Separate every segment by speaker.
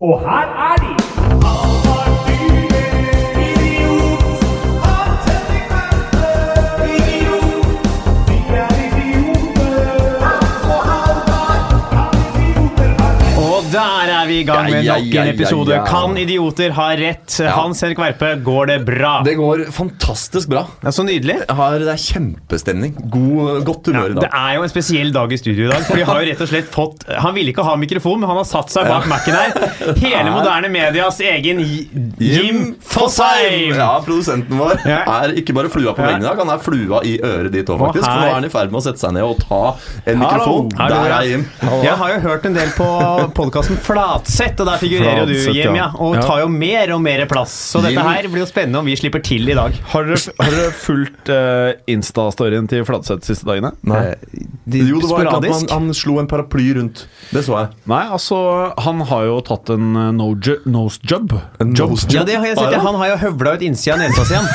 Speaker 1: Og her er de!
Speaker 2: Og der er vi i gang med
Speaker 3: Ja, ja,
Speaker 2: nok
Speaker 3: ja,
Speaker 2: en
Speaker 3: ja,
Speaker 2: episode.
Speaker 3: ja.
Speaker 2: Kan idioter ha rett? Hans Henrik Verpe, går det bra?
Speaker 3: Det går fantastisk bra.
Speaker 2: Det er så nydelig.
Speaker 3: Jeg har, det er kjempestemning. God, godt humør i
Speaker 2: Det
Speaker 3: dag.
Speaker 2: er jo en spesiell dag i studio i dag. For de har jo rett og slett fått Han ville ikke ha mikrofon, men han har satt seg bak Mac-en her. Hele moderne medias egen J- Jim Fosheim!
Speaker 3: Ja, Produsenten vår
Speaker 2: Ja.
Speaker 3: er ikke bare flua på
Speaker 2: Ja.
Speaker 3: veggen i dag, han er flua i øret ditt òg, faktisk. For
Speaker 2: her.
Speaker 3: nå er han i ferd med å sette seg ned og ta en
Speaker 2: Hallo.
Speaker 3: mikrofon. Der er Jim.
Speaker 2: Jeg har jo hørt en del på podkasten Flatsett, og der figurerer jo du,
Speaker 4: Flatsett, ja.
Speaker 2: Jim, ja. Og
Speaker 4: Ja.
Speaker 2: tar jo mer og mer plass. Så dette
Speaker 3: Jim.
Speaker 2: her blir jo spennende om vi slipper til i dag.
Speaker 4: Har dere, har dere fulgt eh, Insta-storyen til Fladseth de siste dagene?
Speaker 3: Nei. Jo, det var et eller annet med
Speaker 2: sporadisk.
Speaker 3: han, han slo en paraply rundt. Det så jeg.
Speaker 4: Nei, altså Han har jo tatt en eh, no ju- nose job.
Speaker 3: En
Speaker 4: job.
Speaker 3: nose
Speaker 2: Ja, det har jeg sett. ja. Han har jo høvla ut innsida av nesa si igjen.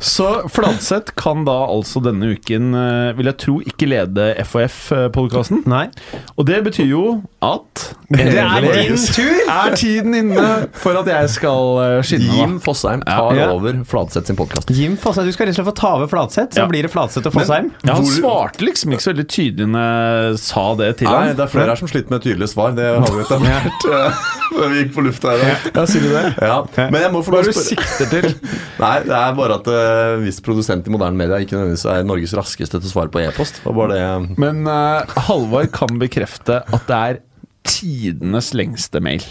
Speaker 4: Så Fladseth kan da altså denne uken, eh, vil jeg tro, ikke lede FHF-podkasten.
Speaker 2: Nei.
Speaker 4: eh, Og det betyr jo at
Speaker 2: Det er din tur!
Speaker 4: er tiden inne for at jeg skal eh, skinne,
Speaker 3: Jim
Speaker 4: da.
Speaker 3: Fosheim tar
Speaker 4: Ja.
Speaker 3: over Fladseth sin podkast.
Speaker 2: Jim Fosheim, du skal rett og slett få ta over Flatseth, så
Speaker 4: Ja.
Speaker 2: blir det Flatseth og Fosheim.
Speaker 4: Ja, han
Speaker 3: Hvor-
Speaker 4: svarte liksom ikke så veldig tydelig når jeg sa det til
Speaker 3: Nei,
Speaker 4: ham.
Speaker 3: det er flere her som sliter med tydelige svar. Det har vi etablert eh, før vi gikk på lufta her. i dag.
Speaker 4: Ja, sier du det?
Speaker 3: Ja. Men jeg må få
Speaker 4: Hva
Speaker 3: lov
Speaker 4: er
Speaker 3: å
Speaker 4: det du
Speaker 3: spørre
Speaker 4: sikter til?
Speaker 3: Nei, det er bare at eh, hvis produsent i moderne media ikke nødvendigvis er Norges raskeste til å svare på e-post. Det var bare det
Speaker 4: Men eh, Halvor kan bekrefte at det er tidenes lengste mail.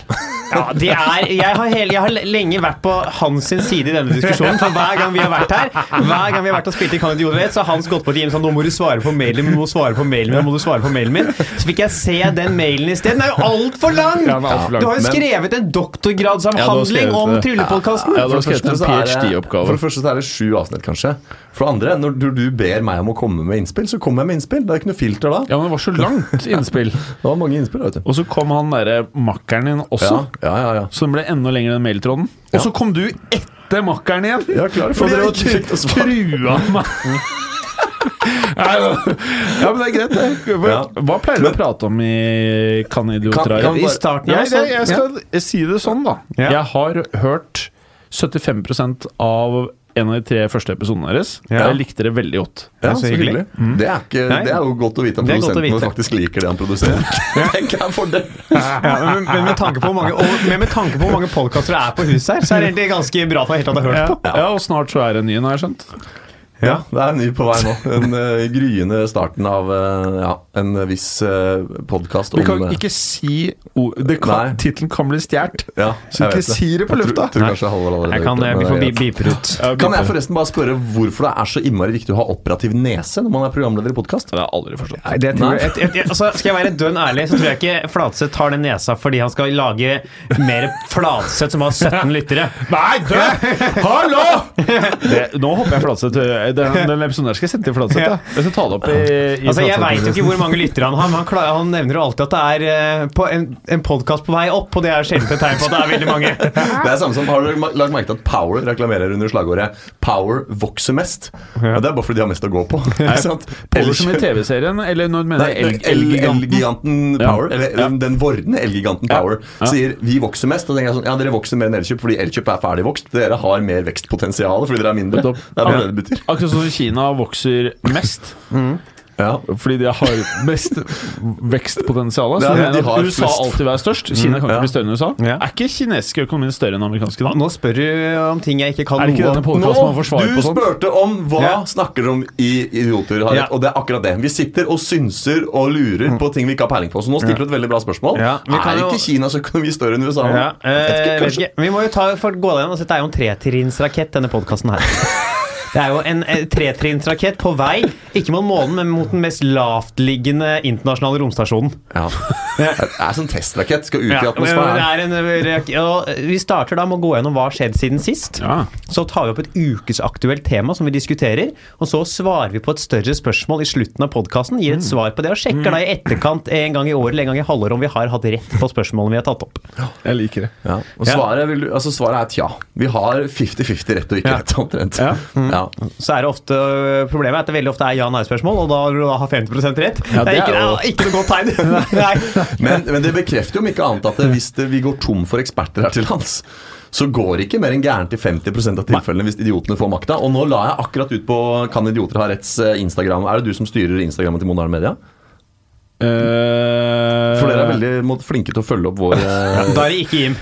Speaker 2: Ja, det er, jeg, har hele, jeg har lenge vært på hans sin side i denne diskusjonen. For hver gang vi har vært her Hver gang vi har vært og spilt i Kanada Jodovet, så har Hans gått på til Jim sånn Nå må du svare på mailen min, nå må du svare på mailen min, nå må du svare på mailen min. Så fikk jeg se den mailen isteden. Den er jo altfor lang!
Speaker 4: Ja, den er alt for lang.
Speaker 2: Du har jo
Speaker 4: Men-
Speaker 2: skrevet en
Speaker 4: Ja, du har
Speaker 2: doktorgradsavhandling
Speaker 4: skrevet
Speaker 2: om
Speaker 4: det.
Speaker 2: Tryllepodkasten.
Speaker 4: Ja, du har
Speaker 3: For det
Speaker 4: skrevet en
Speaker 3: første så er det- For
Speaker 4: PhD-oppgave.
Speaker 3: det første så er det sju avsnitt, kanskje. For det andre, når du, du ber meg om å komme med innspill, så kommer jeg med innspill. Det er ikke noe filter da.
Speaker 4: Ja, men det var så langt innspill.
Speaker 3: Det var mange innspill, vet du.
Speaker 4: Og så kom han derre makkeren din også,
Speaker 3: Ja, ja, ja, ja.
Speaker 4: så den ble enda lenger den mailtråden. Og så kom du etter makkeren igjen!
Speaker 3: Ja, klar,
Speaker 4: for
Speaker 3: fordi
Speaker 4: dere
Speaker 3: jeg ikke fikk noe svar.
Speaker 4: trua meg. Nei, men- Ja, men det er greit, det. Hva,
Speaker 3: Ja.
Speaker 4: hva pleier du å prate om i Kan
Speaker 3: Kan-
Speaker 4: idioter
Speaker 3: kan-
Speaker 2: I starten av
Speaker 4: jeg, jeg, jeg
Speaker 2: sånn-
Speaker 4: skal si det sånn, da.
Speaker 2: Ja.
Speaker 4: Jeg har hørt 75 av en av de tre første episodene deres.
Speaker 2: Ja.
Speaker 4: Jeg likte det veldig godt.
Speaker 3: Ja,
Speaker 2: så
Speaker 3: så hyggelig.
Speaker 2: hyggelig.
Speaker 3: Det er, ikke,
Speaker 2: Nei.
Speaker 3: det er jo godt å vite at
Speaker 2: Det er godt å
Speaker 3: produsenten vår
Speaker 2: vite.
Speaker 3: faktisk liker det han produserer. Tenk jeg for det.
Speaker 2: Ja, men, men med tanke på hvor mange, og- men med tanke på hvor mange podkaster det er på huset her, så er det egentlig ganske bra at han helt tatt har hørt
Speaker 4: Ja.
Speaker 2: på.
Speaker 4: ja, Og snart så er det en ny, har jeg skjønt.
Speaker 3: Ja, det er en ny på vei nå. Den eh, gryende starten av eh, ja, en viss uh, podkast om
Speaker 4: Vi kan
Speaker 3: eh,
Speaker 4: ikke si o- det kan-
Speaker 3: Nei.
Speaker 4: Tittelen kan bli stjålet.
Speaker 3: ja,
Speaker 4: Så
Speaker 3: jeg vet
Speaker 4: ikke
Speaker 3: det.
Speaker 4: si det på
Speaker 3: Jeg
Speaker 4: lufta.
Speaker 3: Tror, tror kanskje Halvor allerede
Speaker 2: Jeg
Speaker 3: har
Speaker 2: kan,
Speaker 3: gjort det,
Speaker 2: eh, vi
Speaker 3: men
Speaker 2: får
Speaker 3: det
Speaker 2: bi-
Speaker 3: er greit.
Speaker 2: beeper ut.
Speaker 3: Kan jeg forresten bare spørre hvorfor det er så innmari viktig å ha operativ nese når man er programleder i podkast?
Speaker 4: Det har jeg aldri forstått.
Speaker 2: Nei, det tror
Speaker 3: Nei.
Speaker 2: jeg, et, et, et, altså, skal jeg være dønn ærlig, så tror jeg ikke Flatseth tar den nesa fordi han skal lage mer Flatseth som har 17 lyttere.
Speaker 4: Nei, dø! Hallo! Det, nå håper jeg Flatseth hører- Den, den episoden der skal jeg sende til Flatseth.
Speaker 2: Ja.
Speaker 4: da. Jeg skal ta det opp i, i
Speaker 2: Altså, jeg
Speaker 4: Flatseth.
Speaker 2: veit jo ikke hvor mange lyttere han har, men han, klarer, han nevner jo alltid at det er eh, på en, en podkast på vei opp, og det er sjelden et tegn på at det er veldig mange.
Speaker 3: Det er samme som, Har dere ma- lagt merke til at Power reklamerer under slagordet 'Power vokser mest'? Og Det er bare fordi de har mest å gå på. Ikke sant?
Speaker 4: Eller som i TV-serien, eller når du mener
Speaker 3: Nei,
Speaker 4: elg-
Speaker 3: elgiganten
Speaker 4: elgiganten.
Speaker 3: Power, eller eller den vordende elgiganten Power, sier 'vi vokser mest'. Og tenker jeg sånn, ja, dere vokser mer enn Elkjøp fordi Elkjøp er ferdigvokst. Dere har mer vekstpotensial fordi dere er mindre. Det
Speaker 4: Nettopp.
Speaker 3: er bare det det betyr.
Speaker 4: Akkurat som Kina vokser mest,
Speaker 3: Ja.
Speaker 4: fordi de har mest vekstpotensial. Så
Speaker 3: Ja, de
Speaker 4: mener at
Speaker 3: har flest.
Speaker 4: USA
Speaker 3: Mm,
Speaker 4: alltid være størst. Kina kan ikke
Speaker 3: ja.
Speaker 4: bli større enn USA.
Speaker 2: Ja.
Speaker 4: Er ikke kinesiske økonomien større enn amerikanske? da?
Speaker 2: Nå spør du om ting jeg ikke kan
Speaker 4: Er det ikke
Speaker 2: noe
Speaker 4: denne
Speaker 2: om.
Speaker 4: podkasten man får svar
Speaker 3: du
Speaker 4: på sånt?
Speaker 3: spurte om hva
Speaker 2: Ja.
Speaker 3: snakker dere om i Idioter, Harald,
Speaker 2: Ja. Mm.
Speaker 3: og det er akkurat det. Vi sitter og synser og lurer på ting vi ikke har peiling på. Så nå stilte du et veldig bra spørsmål.
Speaker 2: Ja, vi kan
Speaker 3: Er
Speaker 2: jo-
Speaker 3: ikke Kinas økonomi større enn USA?
Speaker 2: Ja, eh,
Speaker 3: Vet ikke,
Speaker 2: vet
Speaker 3: kanskje.
Speaker 2: ikke. Vi må jo ta, for, gå igjen og se, Det er jo en tretrinnsrakett, denne podkasten her. Det er jo en eh, tretrinnsrakett på vei, ikke mot månen, men mot den mest lavtliggende internasjonale romstasjonen.
Speaker 3: Ja. Det er sånn testrakett. Skal ut i
Speaker 2: Ja, men det
Speaker 3: atmosfæren.
Speaker 2: er en, rak- og vi starter da med å gå gjennom hva har skjedd siden sist.
Speaker 4: Ja.
Speaker 2: Så tar vi opp et ukesaktuelt tema som vi diskuterer, og så svarer vi på et større spørsmål i slutten av podkasten. Gir et
Speaker 3: Mm.
Speaker 2: svar på det, og sjekker da i etterkant en gang i året eller en gang i halvåret om vi har hatt rett på spørsmålene vi har tatt opp.
Speaker 4: Jeg liker det.
Speaker 3: Ja. Og svaret, vil du, altså svaret er tja. Vi har 50-50 rett og ikke rett, omtrent. Ja. Ja.
Speaker 2: så er det ofte Problemet er at det veldig ofte er ja-nei-spørsmål, og da når du da har 50 rett Det er
Speaker 4: Ja, det
Speaker 2: ikke,
Speaker 4: er jo-
Speaker 2: det er ikke noe godt tegn. Nei.
Speaker 3: Men, men det bekrefter jo om ikke annet at
Speaker 2: Mm.
Speaker 3: det, hvis det, vi går tom for eksperter her til lands, så går det ikke mer enn gærent i 50 av tilfellene hvis idiotene får makta. Og nå la jeg akkurat ut på Kan idioter ha retts eh, Instagram. Er det du som styrer Instagrammen til Moderne Media?
Speaker 4: Eh,
Speaker 3: For dere
Speaker 2: Eh.
Speaker 3: er veldig må- flinke til å følge opp vår eh,
Speaker 2: Da er det ikke Jim.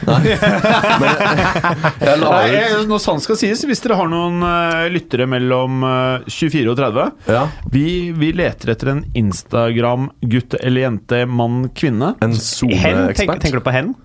Speaker 3: Jeg la
Speaker 4: Nei,
Speaker 3: ut
Speaker 4: jeg, når sant skal sies, hvis dere har noen eh, lyttere mellom eh, 24 og 30
Speaker 3: Ja.
Speaker 4: vi, vi leter etter en Instagram-gutt eller jente, mann, kvinne.
Speaker 3: en
Speaker 2: Hen, tenk,
Speaker 3: soneekspert.
Speaker 2: tenker du på hen?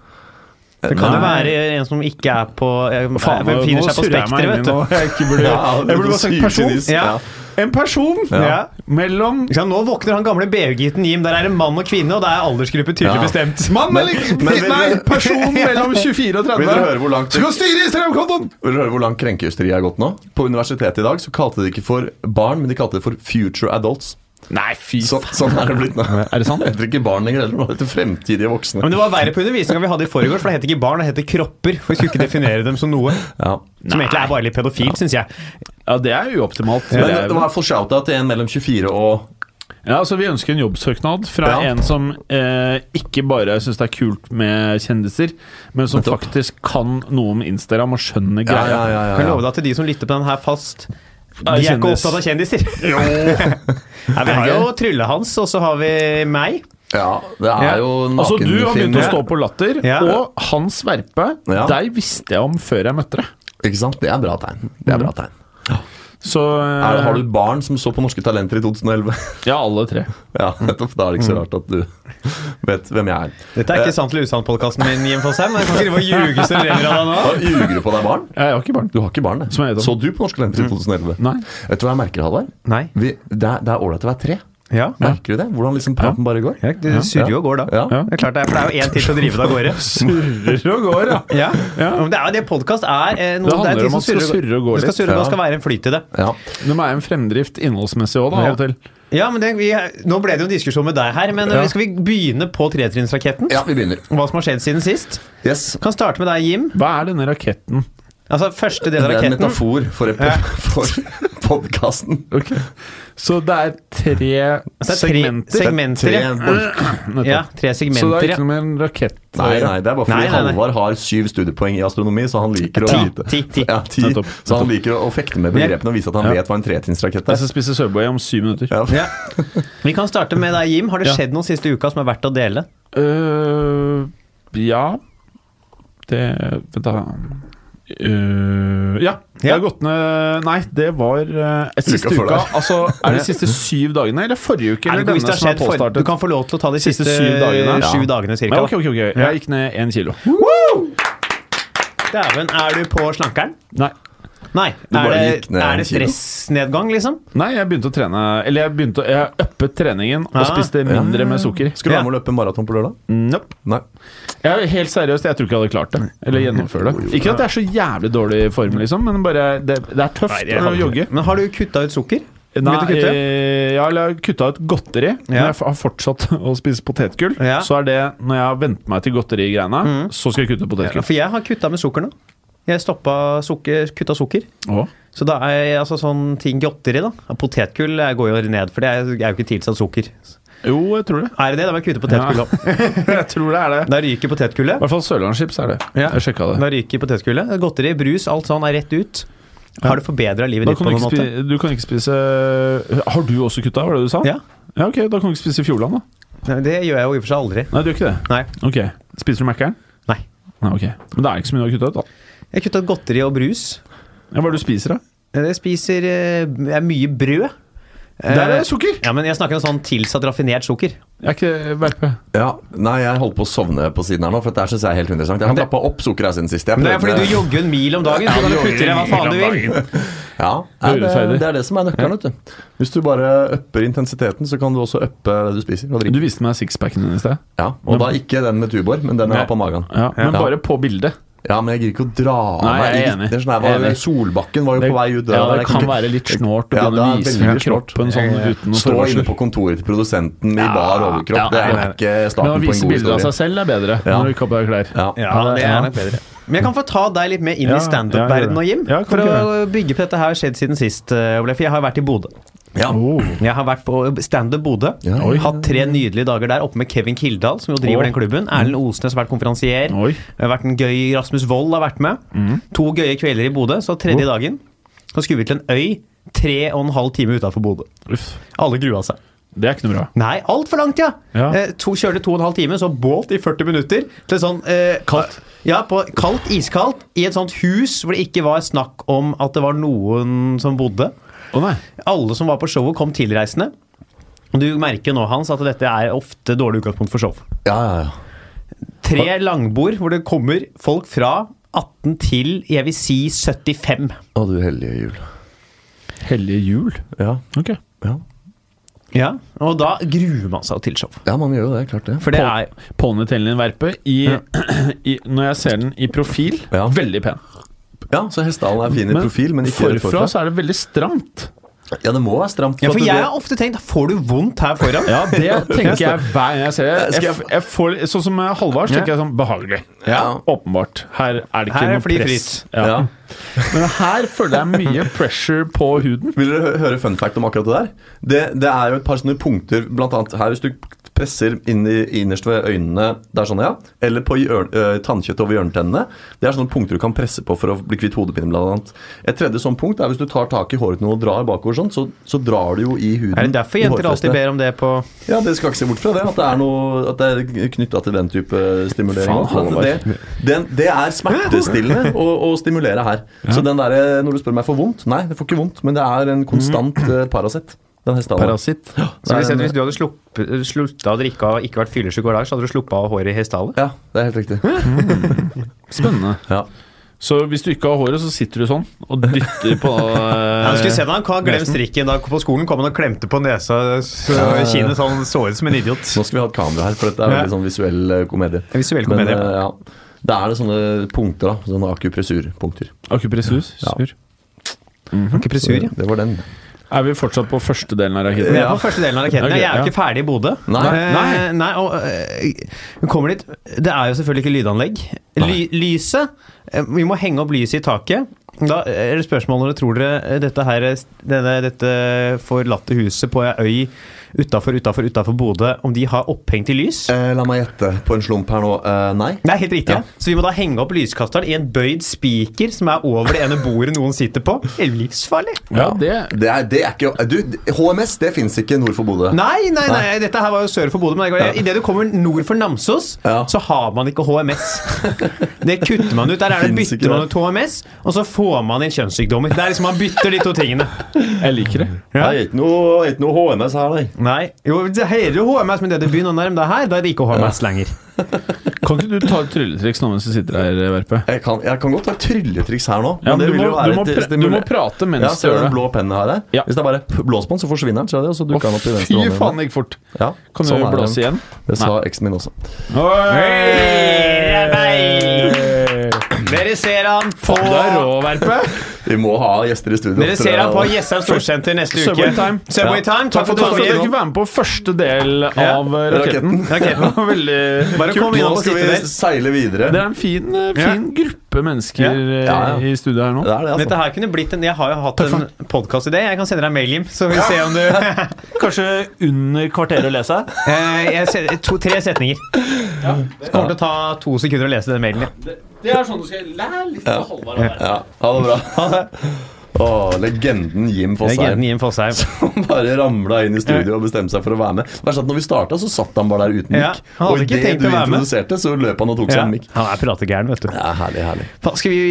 Speaker 2: Det kan jo
Speaker 4: Nei.
Speaker 2: være en som ikke er på eh,
Speaker 4: Faen,
Speaker 2: eh, Befinner seg på
Speaker 4: surrer jeg
Speaker 2: spekteret,
Speaker 4: meg inn i
Speaker 2: vet du.
Speaker 4: noe jeg ikke burde gjøre.
Speaker 3: Ja,
Speaker 4: Jeg burde bare sagt
Speaker 3: sykt
Speaker 4: person.
Speaker 3: sinis.
Speaker 2: Ja.
Speaker 3: Ja.
Speaker 4: En person
Speaker 2: Ja.
Speaker 4: mellom
Speaker 2: Ikke sant, nå våkner han gamle BU-gutten Jim. Der er det mann og kvinne, og det er aldersgruppe tydelig
Speaker 3: Ja.
Speaker 2: bestemt.
Speaker 4: Mann
Speaker 3: Men-
Speaker 4: eller
Speaker 3: men vil
Speaker 4: Nei,
Speaker 3: dere-
Speaker 4: person mellom 24 og 30.
Speaker 3: Vil dere høre hvor langt-
Speaker 4: Skal styre Instagram-kontoen!
Speaker 3: Vil du høre hvor langt krenkehysteriet er gått nå? På universitetet i dag så kalte de ikke for barn, men de kalte det for future adults.
Speaker 4: Nei, fy
Speaker 3: Så, sånn er det blitt nå.
Speaker 4: Er det sant?
Speaker 3: Det heter ikke barn lenger heller, det heter fremtidige voksne.
Speaker 2: Men det var verre på undervisninga vi hadde i forgårs, for det het ikke barn, det heter kropper. For vi skulle ikke definere dem som noe.
Speaker 3: Ja.
Speaker 2: Som egentlig er bare litt pedofilt, syns jeg.
Speaker 4: Ja, det er uoptimalt.
Speaker 3: Men
Speaker 4: Det
Speaker 3: det
Speaker 4: er-
Speaker 3: var i hvert fall shout-out til en mellom 24 og
Speaker 4: Ja, altså Vi ønsker en jobbsøknad fra
Speaker 3: Ja.
Speaker 4: en som eh, ikke bare syns det er kult med kjendiser, men som
Speaker 3: Nettopp.
Speaker 4: faktisk kan noe om Instagram og skjønner greia.
Speaker 2: Kan love deg til de som lytter på den her fast
Speaker 4: Er
Speaker 2: De er ikke
Speaker 4: kjendis.
Speaker 2: opptatt av kjendiser. Nei, vi har jo Trylle-Hans, og så har vi meg.
Speaker 3: Ja, det
Speaker 2: Ja.
Speaker 3: er jo
Speaker 4: Altså Du har begynt å
Speaker 3: nakenfilmer.
Speaker 4: stå på latter,
Speaker 2: Ja.
Speaker 4: og Hans Verpe
Speaker 3: Ja.
Speaker 4: deg visste jeg om før jeg møtte deg.
Speaker 3: Ikke sant? Det er bra tegn. Det er
Speaker 4: Mm.
Speaker 3: bra tegn.
Speaker 4: Så eh,
Speaker 3: Er, har du barn som så på Norske Talenter i 2011?
Speaker 4: Ja, alle tre.
Speaker 3: ja,
Speaker 4: Mm.
Speaker 3: nettopp. Da er det ikke så rart at du vet hvem jeg er.
Speaker 2: Dette
Speaker 4: Eh.
Speaker 2: er ikke sant eller usant-podkasten min, Jim Fosheim. Jeg kan ikke drive og ljuge så det renner av deg nå.
Speaker 3: Eh, Hva, Ljuger du på deg barn?
Speaker 4: Jeg har ikke barn.
Speaker 3: Du har ikke barn, det.
Speaker 4: Som jeg vet om.
Speaker 3: Så du på Norske Talenter i 2011?
Speaker 4: Nei.
Speaker 3: Vet du hva jeg merker, Halvard?
Speaker 2: Mm. Nei.
Speaker 3: Vi- Det er det er ålreit å være tre.
Speaker 2: Ja.
Speaker 3: Merker du det? Hvordan liksom praten bare går?
Speaker 2: Ja, Det surrer jo og går, da.
Speaker 3: Ja.
Speaker 4: Ja.
Speaker 2: Det er klart det er, for det er jo én til til å drive det av gårde.
Speaker 4: Surrer og går, ja.
Speaker 2: Ja. Men Det er jo det podkast er. eh, Noe,
Speaker 4: Det handler
Speaker 2: er ting
Speaker 4: om
Speaker 2: som
Speaker 4: at det skal surre og gå
Speaker 2: Det skal
Speaker 4: litt.
Speaker 2: surre og gå,
Speaker 3: Ja.
Speaker 2: skal være en flyt i det.
Speaker 3: Ja.
Speaker 4: Det må være en fremdrift innholdsmessig òg, da, av og til.
Speaker 2: Ja, men det, vi, Nå ble det jo en diskusjon med deg her, men eh,
Speaker 4: Ja.
Speaker 2: skal vi begynne på tretrinnsraketten?
Speaker 3: ja, vi begynner.
Speaker 2: Hva som har skjedd siden sist?
Speaker 3: Yes.
Speaker 2: Kan starte med deg, Jim.
Speaker 4: Hva er denne raketten?
Speaker 2: Altså, Første del
Speaker 3: Det
Speaker 2: av
Speaker 3: er en
Speaker 2: raketten.
Speaker 3: metafor for, ep- for podkasten.
Speaker 4: Ok. Så det er tre
Speaker 2: Så Altså, det er tre
Speaker 4: segmenter.
Speaker 2: segmenter. ja. Ja, tre
Speaker 4: Så det
Speaker 2: segmenter.
Speaker 4: er ikke
Speaker 2: ja.
Speaker 4: noe med en rakett å
Speaker 3: Nei,
Speaker 4: gjøre.
Speaker 3: nei, det er bare fordi
Speaker 2: Nei, nei, nei.
Speaker 3: Halvard har syv studiepoeng i astronomi, så han liker å
Speaker 2: Ti,
Speaker 3: vite
Speaker 2: ti, ti.
Speaker 3: Ja, ti.
Speaker 4: Nettopp,
Speaker 3: Så han liker å fekte med begrepene og vise at han
Speaker 4: Ja.
Speaker 3: vet hva en tretrinnsrakett
Speaker 4: Jeg
Speaker 3: er.
Speaker 4: skal spise Subway om syv minutter.
Speaker 3: Ja.
Speaker 2: Ja. Vi kan starte med deg, Jim. Har det
Speaker 4: Ja.
Speaker 2: skjedd noe siste uka som er verdt å dele?
Speaker 4: Øh, ja Det Vent, da. Øh, ja, jeg har gått ned Nei, det var uh, siste
Speaker 3: før
Speaker 4: uka.
Speaker 3: der.
Speaker 4: Altså, er det siste syv dagene, eller forrige uke?
Speaker 2: Er det
Speaker 4: Eller
Speaker 2: noe hvis det
Speaker 4: denne
Speaker 2: har
Speaker 4: som er
Speaker 2: skjedd for, du
Speaker 4: påstartet?
Speaker 2: kan få lov til å ta de
Speaker 4: Siste
Speaker 2: siste,
Speaker 4: syv dagene, ja.
Speaker 2: Syv dagene cirka.
Speaker 4: Ja, ok, ok, ok. Jeg gikk ned én kilo.
Speaker 2: Dæven, er du på slankeren?
Speaker 4: Nei.
Speaker 2: Nei. Er
Speaker 3: bare
Speaker 2: det,
Speaker 3: gikk ned
Speaker 2: er det
Speaker 3: en kilo.
Speaker 2: stressnedgang, liksom?
Speaker 4: nei, jeg begynte å trene Eller jeg begynte å, jeg uppet treningen og
Speaker 2: Ah.
Speaker 4: spiste mindre med sukker.
Speaker 3: Skal du være med å løpe maraton på lørdag?
Speaker 2: Mm.
Speaker 4: Nope.
Speaker 3: Nei.
Speaker 4: Jeg, helt seriøst, jeg tror ikke jeg hadde klart det. Eller gjennomføre det. Ikke at jeg er så jævlig dårlig i form, liksom, men bare det, det er tøft å jogge.
Speaker 2: Men har du kutta ut sukker?
Speaker 4: Nei,
Speaker 2: Begynt å kutte?
Speaker 4: eh, ja, eller jeg har kutta ut godteri, men
Speaker 2: Ja.
Speaker 4: jeg har fortsatt å spise potetgull.
Speaker 2: Ja. Mm.
Speaker 4: Så er det når jeg har vent meg til godterigreiene, så skal jeg kutte ut
Speaker 2: Ja,
Speaker 4: potetgull.
Speaker 2: for jeg har kutta med sukker nå. Jeg stoppa sukker, kutta sukker.
Speaker 4: Åh.
Speaker 2: Så da er jeg, altså sånn ting godteri, da. Ja, Potetgull eh, går jo ned, for det er, er jo ikke tilsatt sukker.
Speaker 4: Jo, jeg tror det.
Speaker 2: Er det det? Da må jeg kutte potetgull opp.
Speaker 4: jeg tror det er det.
Speaker 2: Da ryker
Speaker 4: I
Speaker 2: potetgullet.
Speaker 4: hvert fall Sørlandschips er det.
Speaker 2: Ja.
Speaker 4: Jeg sjekka det.
Speaker 2: Da ryker potetgullet. Godteri, brus, alt sånn er rett ut. Har du forbedra livet
Speaker 4: Da
Speaker 2: ditt
Speaker 4: kan
Speaker 2: på
Speaker 4: du,
Speaker 2: noen
Speaker 4: ikke
Speaker 2: måte?
Speaker 4: spise, du kan ikke spise eh, Har du også kutta, var det du sa?
Speaker 2: Ja.
Speaker 4: ja ok, Da kan du ikke spise Fjordland, da.
Speaker 2: Nei, Det gjør jeg jo i og for seg aldri.
Speaker 4: Nei, du gjør ikke det.
Speaker 2: Nei.
Speaker 4: Ok, Spiser du Mækkern?
Speaker 2: Nei.
Speaker 4: Nei, ok. Men det er ikke så mye du har kutta ut, da.
Speaker 2: Jeg kutta godteri og brus.
Speaker 4: Ja, hva er det du spiser, da?
Speaker 2: Jeg spiser eh, jeg er mye brød.
Speaker 4: Der er
Speaker 2: Eh,
Speaker 4: det sukker!
Speaker 2: Ja, men jeg snakker om sånn tilsatt raffinert sukker.
Speaker 4: Jeg er ikke verpe.
Speaker 3: Ja. Nei, jeg holdt på å sovne på siden her nå, for det her syns jeg er helt interessant. Jeg har trappa opp sukkeret siden sist. Jeg
Speaker 2: Men det er
Speaker 3: prøvde-
Speaker 2: fordi du jogger en mil om dagen, så kan du putte i deg hva faen du vil.
Speaker 3: Ja, er det,
Speaker 4: Urettferdig.
Speaker 3: det er det som er nøkkelen. vet du. Hvis du bare upper intensiteten, så kan du også uppe det du spiser og
Speaker 4: Du
Speaker 3: drikker.
Speaker 4: viste meg sixpacken din i sted.
Speaker 3: Ja, og da ikke den med tubor, men den jeg har på magen.
Speaker 4: Ja, men
Speaker 3: Ja.
Speaker 4: bare på bildet.
Speaker 3: Ja, men jeg gidder ikke å dra av
Speaker 4: Nei,
Speaker 3: meg
Speaker 4: jeg er
Speaker 3: i
Speaker 4: enig.
Speaker 3: vitner. Sånn her,
Speaker 4: Jeg er
Speaker 3: var-
Speaker 4: enig.
Speaker 3: Solbakken var jo
Speaker 4: Det-
Speaker 3: på vei ut
Speaker 4: Ja,
Speaker 3: døra.
Speaker 4: det
Speaker 3: Jeg
Speaker 4: kan
Speaker 3: ikke-
Speaker 4: være litt snålt å
Speaker 3: Ja,
Speaker 4: begynne å
Speaker 3: det er
Speaker 4: vise
Speaker 3: veldig snålt.
Speaker 4: kroppen sånn uten noe
Speaker 3: Stå inne
Speaker 4: forvarsel.
Speaker 3: på kontoret til produsenten i bar overkropp.
Speaker 4: Ja,
Speaker 3: det er
Speaker 4: ja.
Speaker 3: ikke
Speaker 4: Men å
Speaker 3: starten på en
Speaker 4: vise
Speaker 3: god
Speaker 4: bilder av
Speaker 3: historie.
Speaker 4: seg selv er bedre.
Speaker 3: Ja.
Speaker 4: Når du ikke har på deg klær.
Speaker 3: Ja.
Speaker 2: Ja, det er nok bedre. Men jeg kan få ta deg litt med inn
Speaker 4: Ja,
Speaker 2: i standup-verdenen og Jim.
Speaker 4: ja, kan
Speaker 2: for
Speaker 4: du
Speaker 2: å bygge på dette her skjedd siden sist, eh, Ole, for jeg har vært i Bodø.
Speaker 3: Ja.
Speaker 4: Oh.
Speaker 2: Jeg har vært på Standup Bodø.
Speaker 3: Ja. Oi.
Speaker 2: Hatt tre nydelige dager der oppe med Kevin Kildahl, som jo driver
Speaker 4: Å.
Speaker 2: den
Speaker 4: Mm.
Speaker 2: klubben. Erlend Osnes har vært konferansier.
Speaker 4: Oi. Mm.
Speaker 2: Det har vært en gøy Rasmus Wold har vært med. To gøye kvelder i Bodø. Så tredje dagen så skulle vi til en øy tre og en halv time utafor Bodø.
Speaker 4: Uff.
Speaker 2: Alle grua seg.
Speaker 4: Det er ikke noe bra.
Speaker 2: Nei, altfor langt, ja!
Speaker 4: Ja.
Speaker 2: Eh, to, kjørte to og en halv time, så båt i 40 minutter til sånn eh, Kaldt. Ja, på kaldt, iskaldt, i et sånt hus hvor det ikke var snakk om at det var noen som bodde.
Speaker 4: Å nei.
Speaker 2: Alle som var på showet, kom tilreisende. Og Du merker jo nå, Hans, at dette er ofte dårlig utgangspunkt for show.
Speaker 3: Ja, ja, ja.
Speaker 2: Tre langbord hvor det kommer folk fra 18 til jeg vil si 75.
Speaker 3: Å, du hellige jul.
Speaker 4: Hellige jul.
Speaker 3: Ja.
Speaker 4: Ok.
Speaker 3: ja.
Speaker 2: Ja, Og da gruer man seg til show.
Speaker 3: Ja, man gjør jo det. Klart det.
Speaker 2: For det er
Speaker 4: Ponnitellen din, Verpe, i,
Speaker 2: Ja.
Speaker 4: i, når jeg ser den i profil,
Speaker 3: Ja.
Speaker 4: veldig pen.
Speaker 3: Ja, Så hestehalen er fin i profil, men ikke rett
Speaker 4: forfra så er det veldig stramt.
Speaker 3: Ja, det må være stramt.
Speaker 2: Ja, for
Speaker 3: at
Speaker 2: jeg
Speaker 3: det-
Speaker 2: har ofte tenkt Får du vondt her foran?
Speaker 4: Ja, det tenker jeg hver gang jeg ser det.
Speaker 3: Skal
Speaker 4: Jeg,
Speaker 3: jeg-
Speaker 4: f- jeg får, litt- sånn som eh, Halvard, så tenker jeg sånn behagelig.
Speaker 3: Ja.
Speaker 4: Åpenbart. Her er det ikke
Speaker 2: Her er
Speaker 4: noe
Speaker 2: fri
Speaker 4: press.
Speaker 2: fritt.
Speaker 4: Ja.
Speaker 3: Ja.
Speaker 4: Men her føler jeg mye pressure på huden.
Speaker 3: Vil dere hø- høre fun fact om akkurat det der? Det, det er jo et par sånne punkter, blant annet her hvis du presser inn i innerst ved øynene, det er sånn, ja, eller på hjørn- ø, tannkjøttet over hjørnetennene. Det er sånne punkter du kan presse på for å bli kvitt hodepine, blant annet. Et tredje sånn punkt er hvis du tar tak i håret til noen og drar bakover sånn, så, så drar du jo i huden.
Speaker 2: Er det derfor
Speaker 3: i
Speaker 2: jenter alltid
Speaker 3: hårfestet.
Speaker 2: ber om det på
Speaker 3: Ja, dere skal ikke se bort fra det. At det er, noe- at det er knytta til den type stimulering.
Speaker 4: Faen,
Speaker 3: også.
Speaker 4: Halvard.
Speaker 3: det, den, det er smertestillende å, å stimulere her. Så den derre når du spør meg får vondt Nei, det får ikke vondt, men det er en konstant eh, Paracet. Den hestehalen.
Speaker 4: Parasitt.
Speaker 2: Så hvis,
Speaker 3: Det er en-
Speaker 2: hvis du hadde slupp- slutta å drikke av og ikke vært fyllesyk hver dag, så hadde du sluppa av håret i hestehale?
Speaker 3: Ja, det er helt riktig.
Speaker 4: Spennende.
Speaker 3: Ja.
Speaker 4: Så hvis du ikke har håret, så sitter du sånn og dytter på eh,
Speaker 2: Ja, du skulle se da, Han har glemt strikken da på skolen. Kom han og klemte på nesa så kinnet så han så ut som en idiot.
Speaker 3: Nå skal vi ha et kamera her, for dette er
Speaker 2: Ja.
Speaker 3: veldig sånn visuell eh, komedie.
Speaker 2: En visuell
Speaker 3: Men,
Speaker 2: komedie.
Speaker 3: eh, ja. Da er det sånne punkter, da. Sånne akupressurpunkter.
Speaker 4: eh, Akupressur. sur.
Speaker 2: Akupressur, ja.
Speaker 3: Det var den.
Speaker 4: Er vi fortsatt på første delen av
Speaker 2: Vi
Speaker 4: raketten?
Speaker 2: er på første delen av raketten.
Speaker 4: Ok,
Speaker 2: jeg er jo
Speaker 4: ja.
Speaker 2: ikke ferdig i Bodø.
Speaker 3: Nei.
Speaker 2: Eh,
Speaker 4: Nei.
Speaker 2: nei og, eh, kommer dit Det er jo selvfølgelig ikke lydanlegg. Ly, lyset eh, Vi må henge opp lyset i taket. Da er det spørsmål når dere tror dere eh, dette, her, denne, dette forlatte huset på ei øy utafor, utafor, utafor Bodø, om de har opphengt i lys?
Speaker 3: Eh, la meg gjette på en slump her nå. Eh, nei.
Speaker 2: Nei, helt riktig.
Speaker 3: Ja.
Speaker 2: Ja. Så vi må da henge opp lyskasteren i en bøyd spiker som er over det ene bordet noen sitter på. Det er Livsfarlig.
Speaker 4: Ja, det
Speaker 3: Det er, det er ikke Du, HMS, det fins ikke nord for Bodø.
Speaker 2: Nei, nei, nei, dette her var jo sør for Bodø. Men ja. idet du kommer nord for Namsos,
Speaker 3: Ja.
Speaker 2: så har man ikke HMS. Det kutter man ut. Der er det,
Speaker 3: Finnes ikke
Speaker 2: bytter man ut
Speaker 3: det.
Speaker 2: HMS, og så får man inn kjønnssykdommer. Det er liksom Man bytter de to tingene.
Speaker 4: Jeg liker det.
Speaker 2: Ja.
Speaker 3: Det er ikke noe, ikke noe HMS her, nei.
Speaker 2: Nei, jo, Det heter jo HMS, men det du begynner å nærme deg her, da er det ikke HMS lenger.
Speaker 4: Kan ikke du ta et trylletriks nå mens du sitter her, Verpe?
Speaker 3: Jeg kan, jeg kan godt ta et trylletriks her nå.
Speaker 4: Ja,
Speaker 3: men
Speaker 4: men du,
Speaker 3: vil
Speaker 4: må,
Speaker 3: jo være
Speaker 4: du, må
Speaker 3: et
Speaker 4: pre- du
Speaker 3: stimule-
Speaker 4: må prate mens
Speaker 3: Ja,
Speaker 4: du
Speaker 3: ser du
Speaker 4: gjør
Speaker 3: den
Speaker 4: det.
Speaker 3: blå pennen her? eh?
Speaker 4: Ja.
Speaker 3: Hvis det er bare p- blås på den, så forsvinner den. Ser du det? Og så
Speaker 4: Å,
Speaker 3: dukker den opp i venstre
Speaker 4: fy
Speaker 3: hånd igjen.
Speaker 4: faen, det gikk fort.
Speaker 3: Ja,
Speaker 4: Kan
Speaker 3: sånn
Speaker 4: du
Speaker 3: er det.
Speaker 4: blåse igjen?
Speaker 3: Det sa eksen min også.
Speaker 2: Hei! Dere ser han på
Speaker 4: Du er rå, Verpe.
Speaker 3: Vi må ha gjester i studio.
Speaker 2: Dere
Speaker 3: for
Speaker 2: ser
Speaker 3: det-
Speaker 2: han på Jessheim Storsenter neste uke.
Speaker 4: Subway Time.
Speaker 2: Subway
Speaker 3: Ja.
Speaker 2: Time. Takk for
Speaker 4: Takk for at dere
Speaker 2: tålmodigheten.
Speaker 4: fikk være med på første del av eh, raketten.
Speaker 3: Raketten.
Speaker 4: Det var Veldig
Speaker 2: Bare kom inn
Speaker 3: Nå
Speaker 2: og
Speaker 3: skal
Speaker 2: sitte
Speaker 3: vi
Speaker 2: der.
Speaker 3: seile videre.
Speaker 4: Det er en fin, eh, fin gruppe mennesker eh,
Speaker 3: Ja, ja.
Speaker 4: i studio her nå.
Speaker 3: Det er det,
Speaker 2: Dette
Speaker 3: altså.
Speaker 2: her kunne blitt en Jeg har jo hatt en podkastidé. Jeg kan sende deg en mail, Jim. Så vi ser om du
Speaker 1: Kanskje under kvarteret å lese?
Speaker 2: Eh, jeg ser, to, Tre setninger. Det kommer til å ta to sekunder å lese den mailen. ja.
Speaker 4: Det er sånn du skal lære litt av Halvard.
Speaker 3: Ja, ha det bra. Å, legenden
Speaker 2: Legenden
Speaker 3: Jim Fosheim.
Speaker 2: Jim Fosheim.
Speaker 3: Han bare ramla inn i studio og bestemte seg for å være med. Verst at når vi starta, så satt han bare der uten
Speaker 2: Ja,
Speaker 3: mikk.
Speaker 2: han hadde
Speaker 3: og
Speaker 2: ikke
Speaker 3: idet
Speaker 2: tenkt
Speaker 3: du
Speaker 2: å være med.
Speaker 3: introduserte, så løp han og tok seg
Speaker 2: Ja.
Speaker 3: en mikk.
Speaker 2: Han er prategæren, vet du.
Speaker 3: Ja, herlig, herlig.
Speaker 2: Fa- Skal vi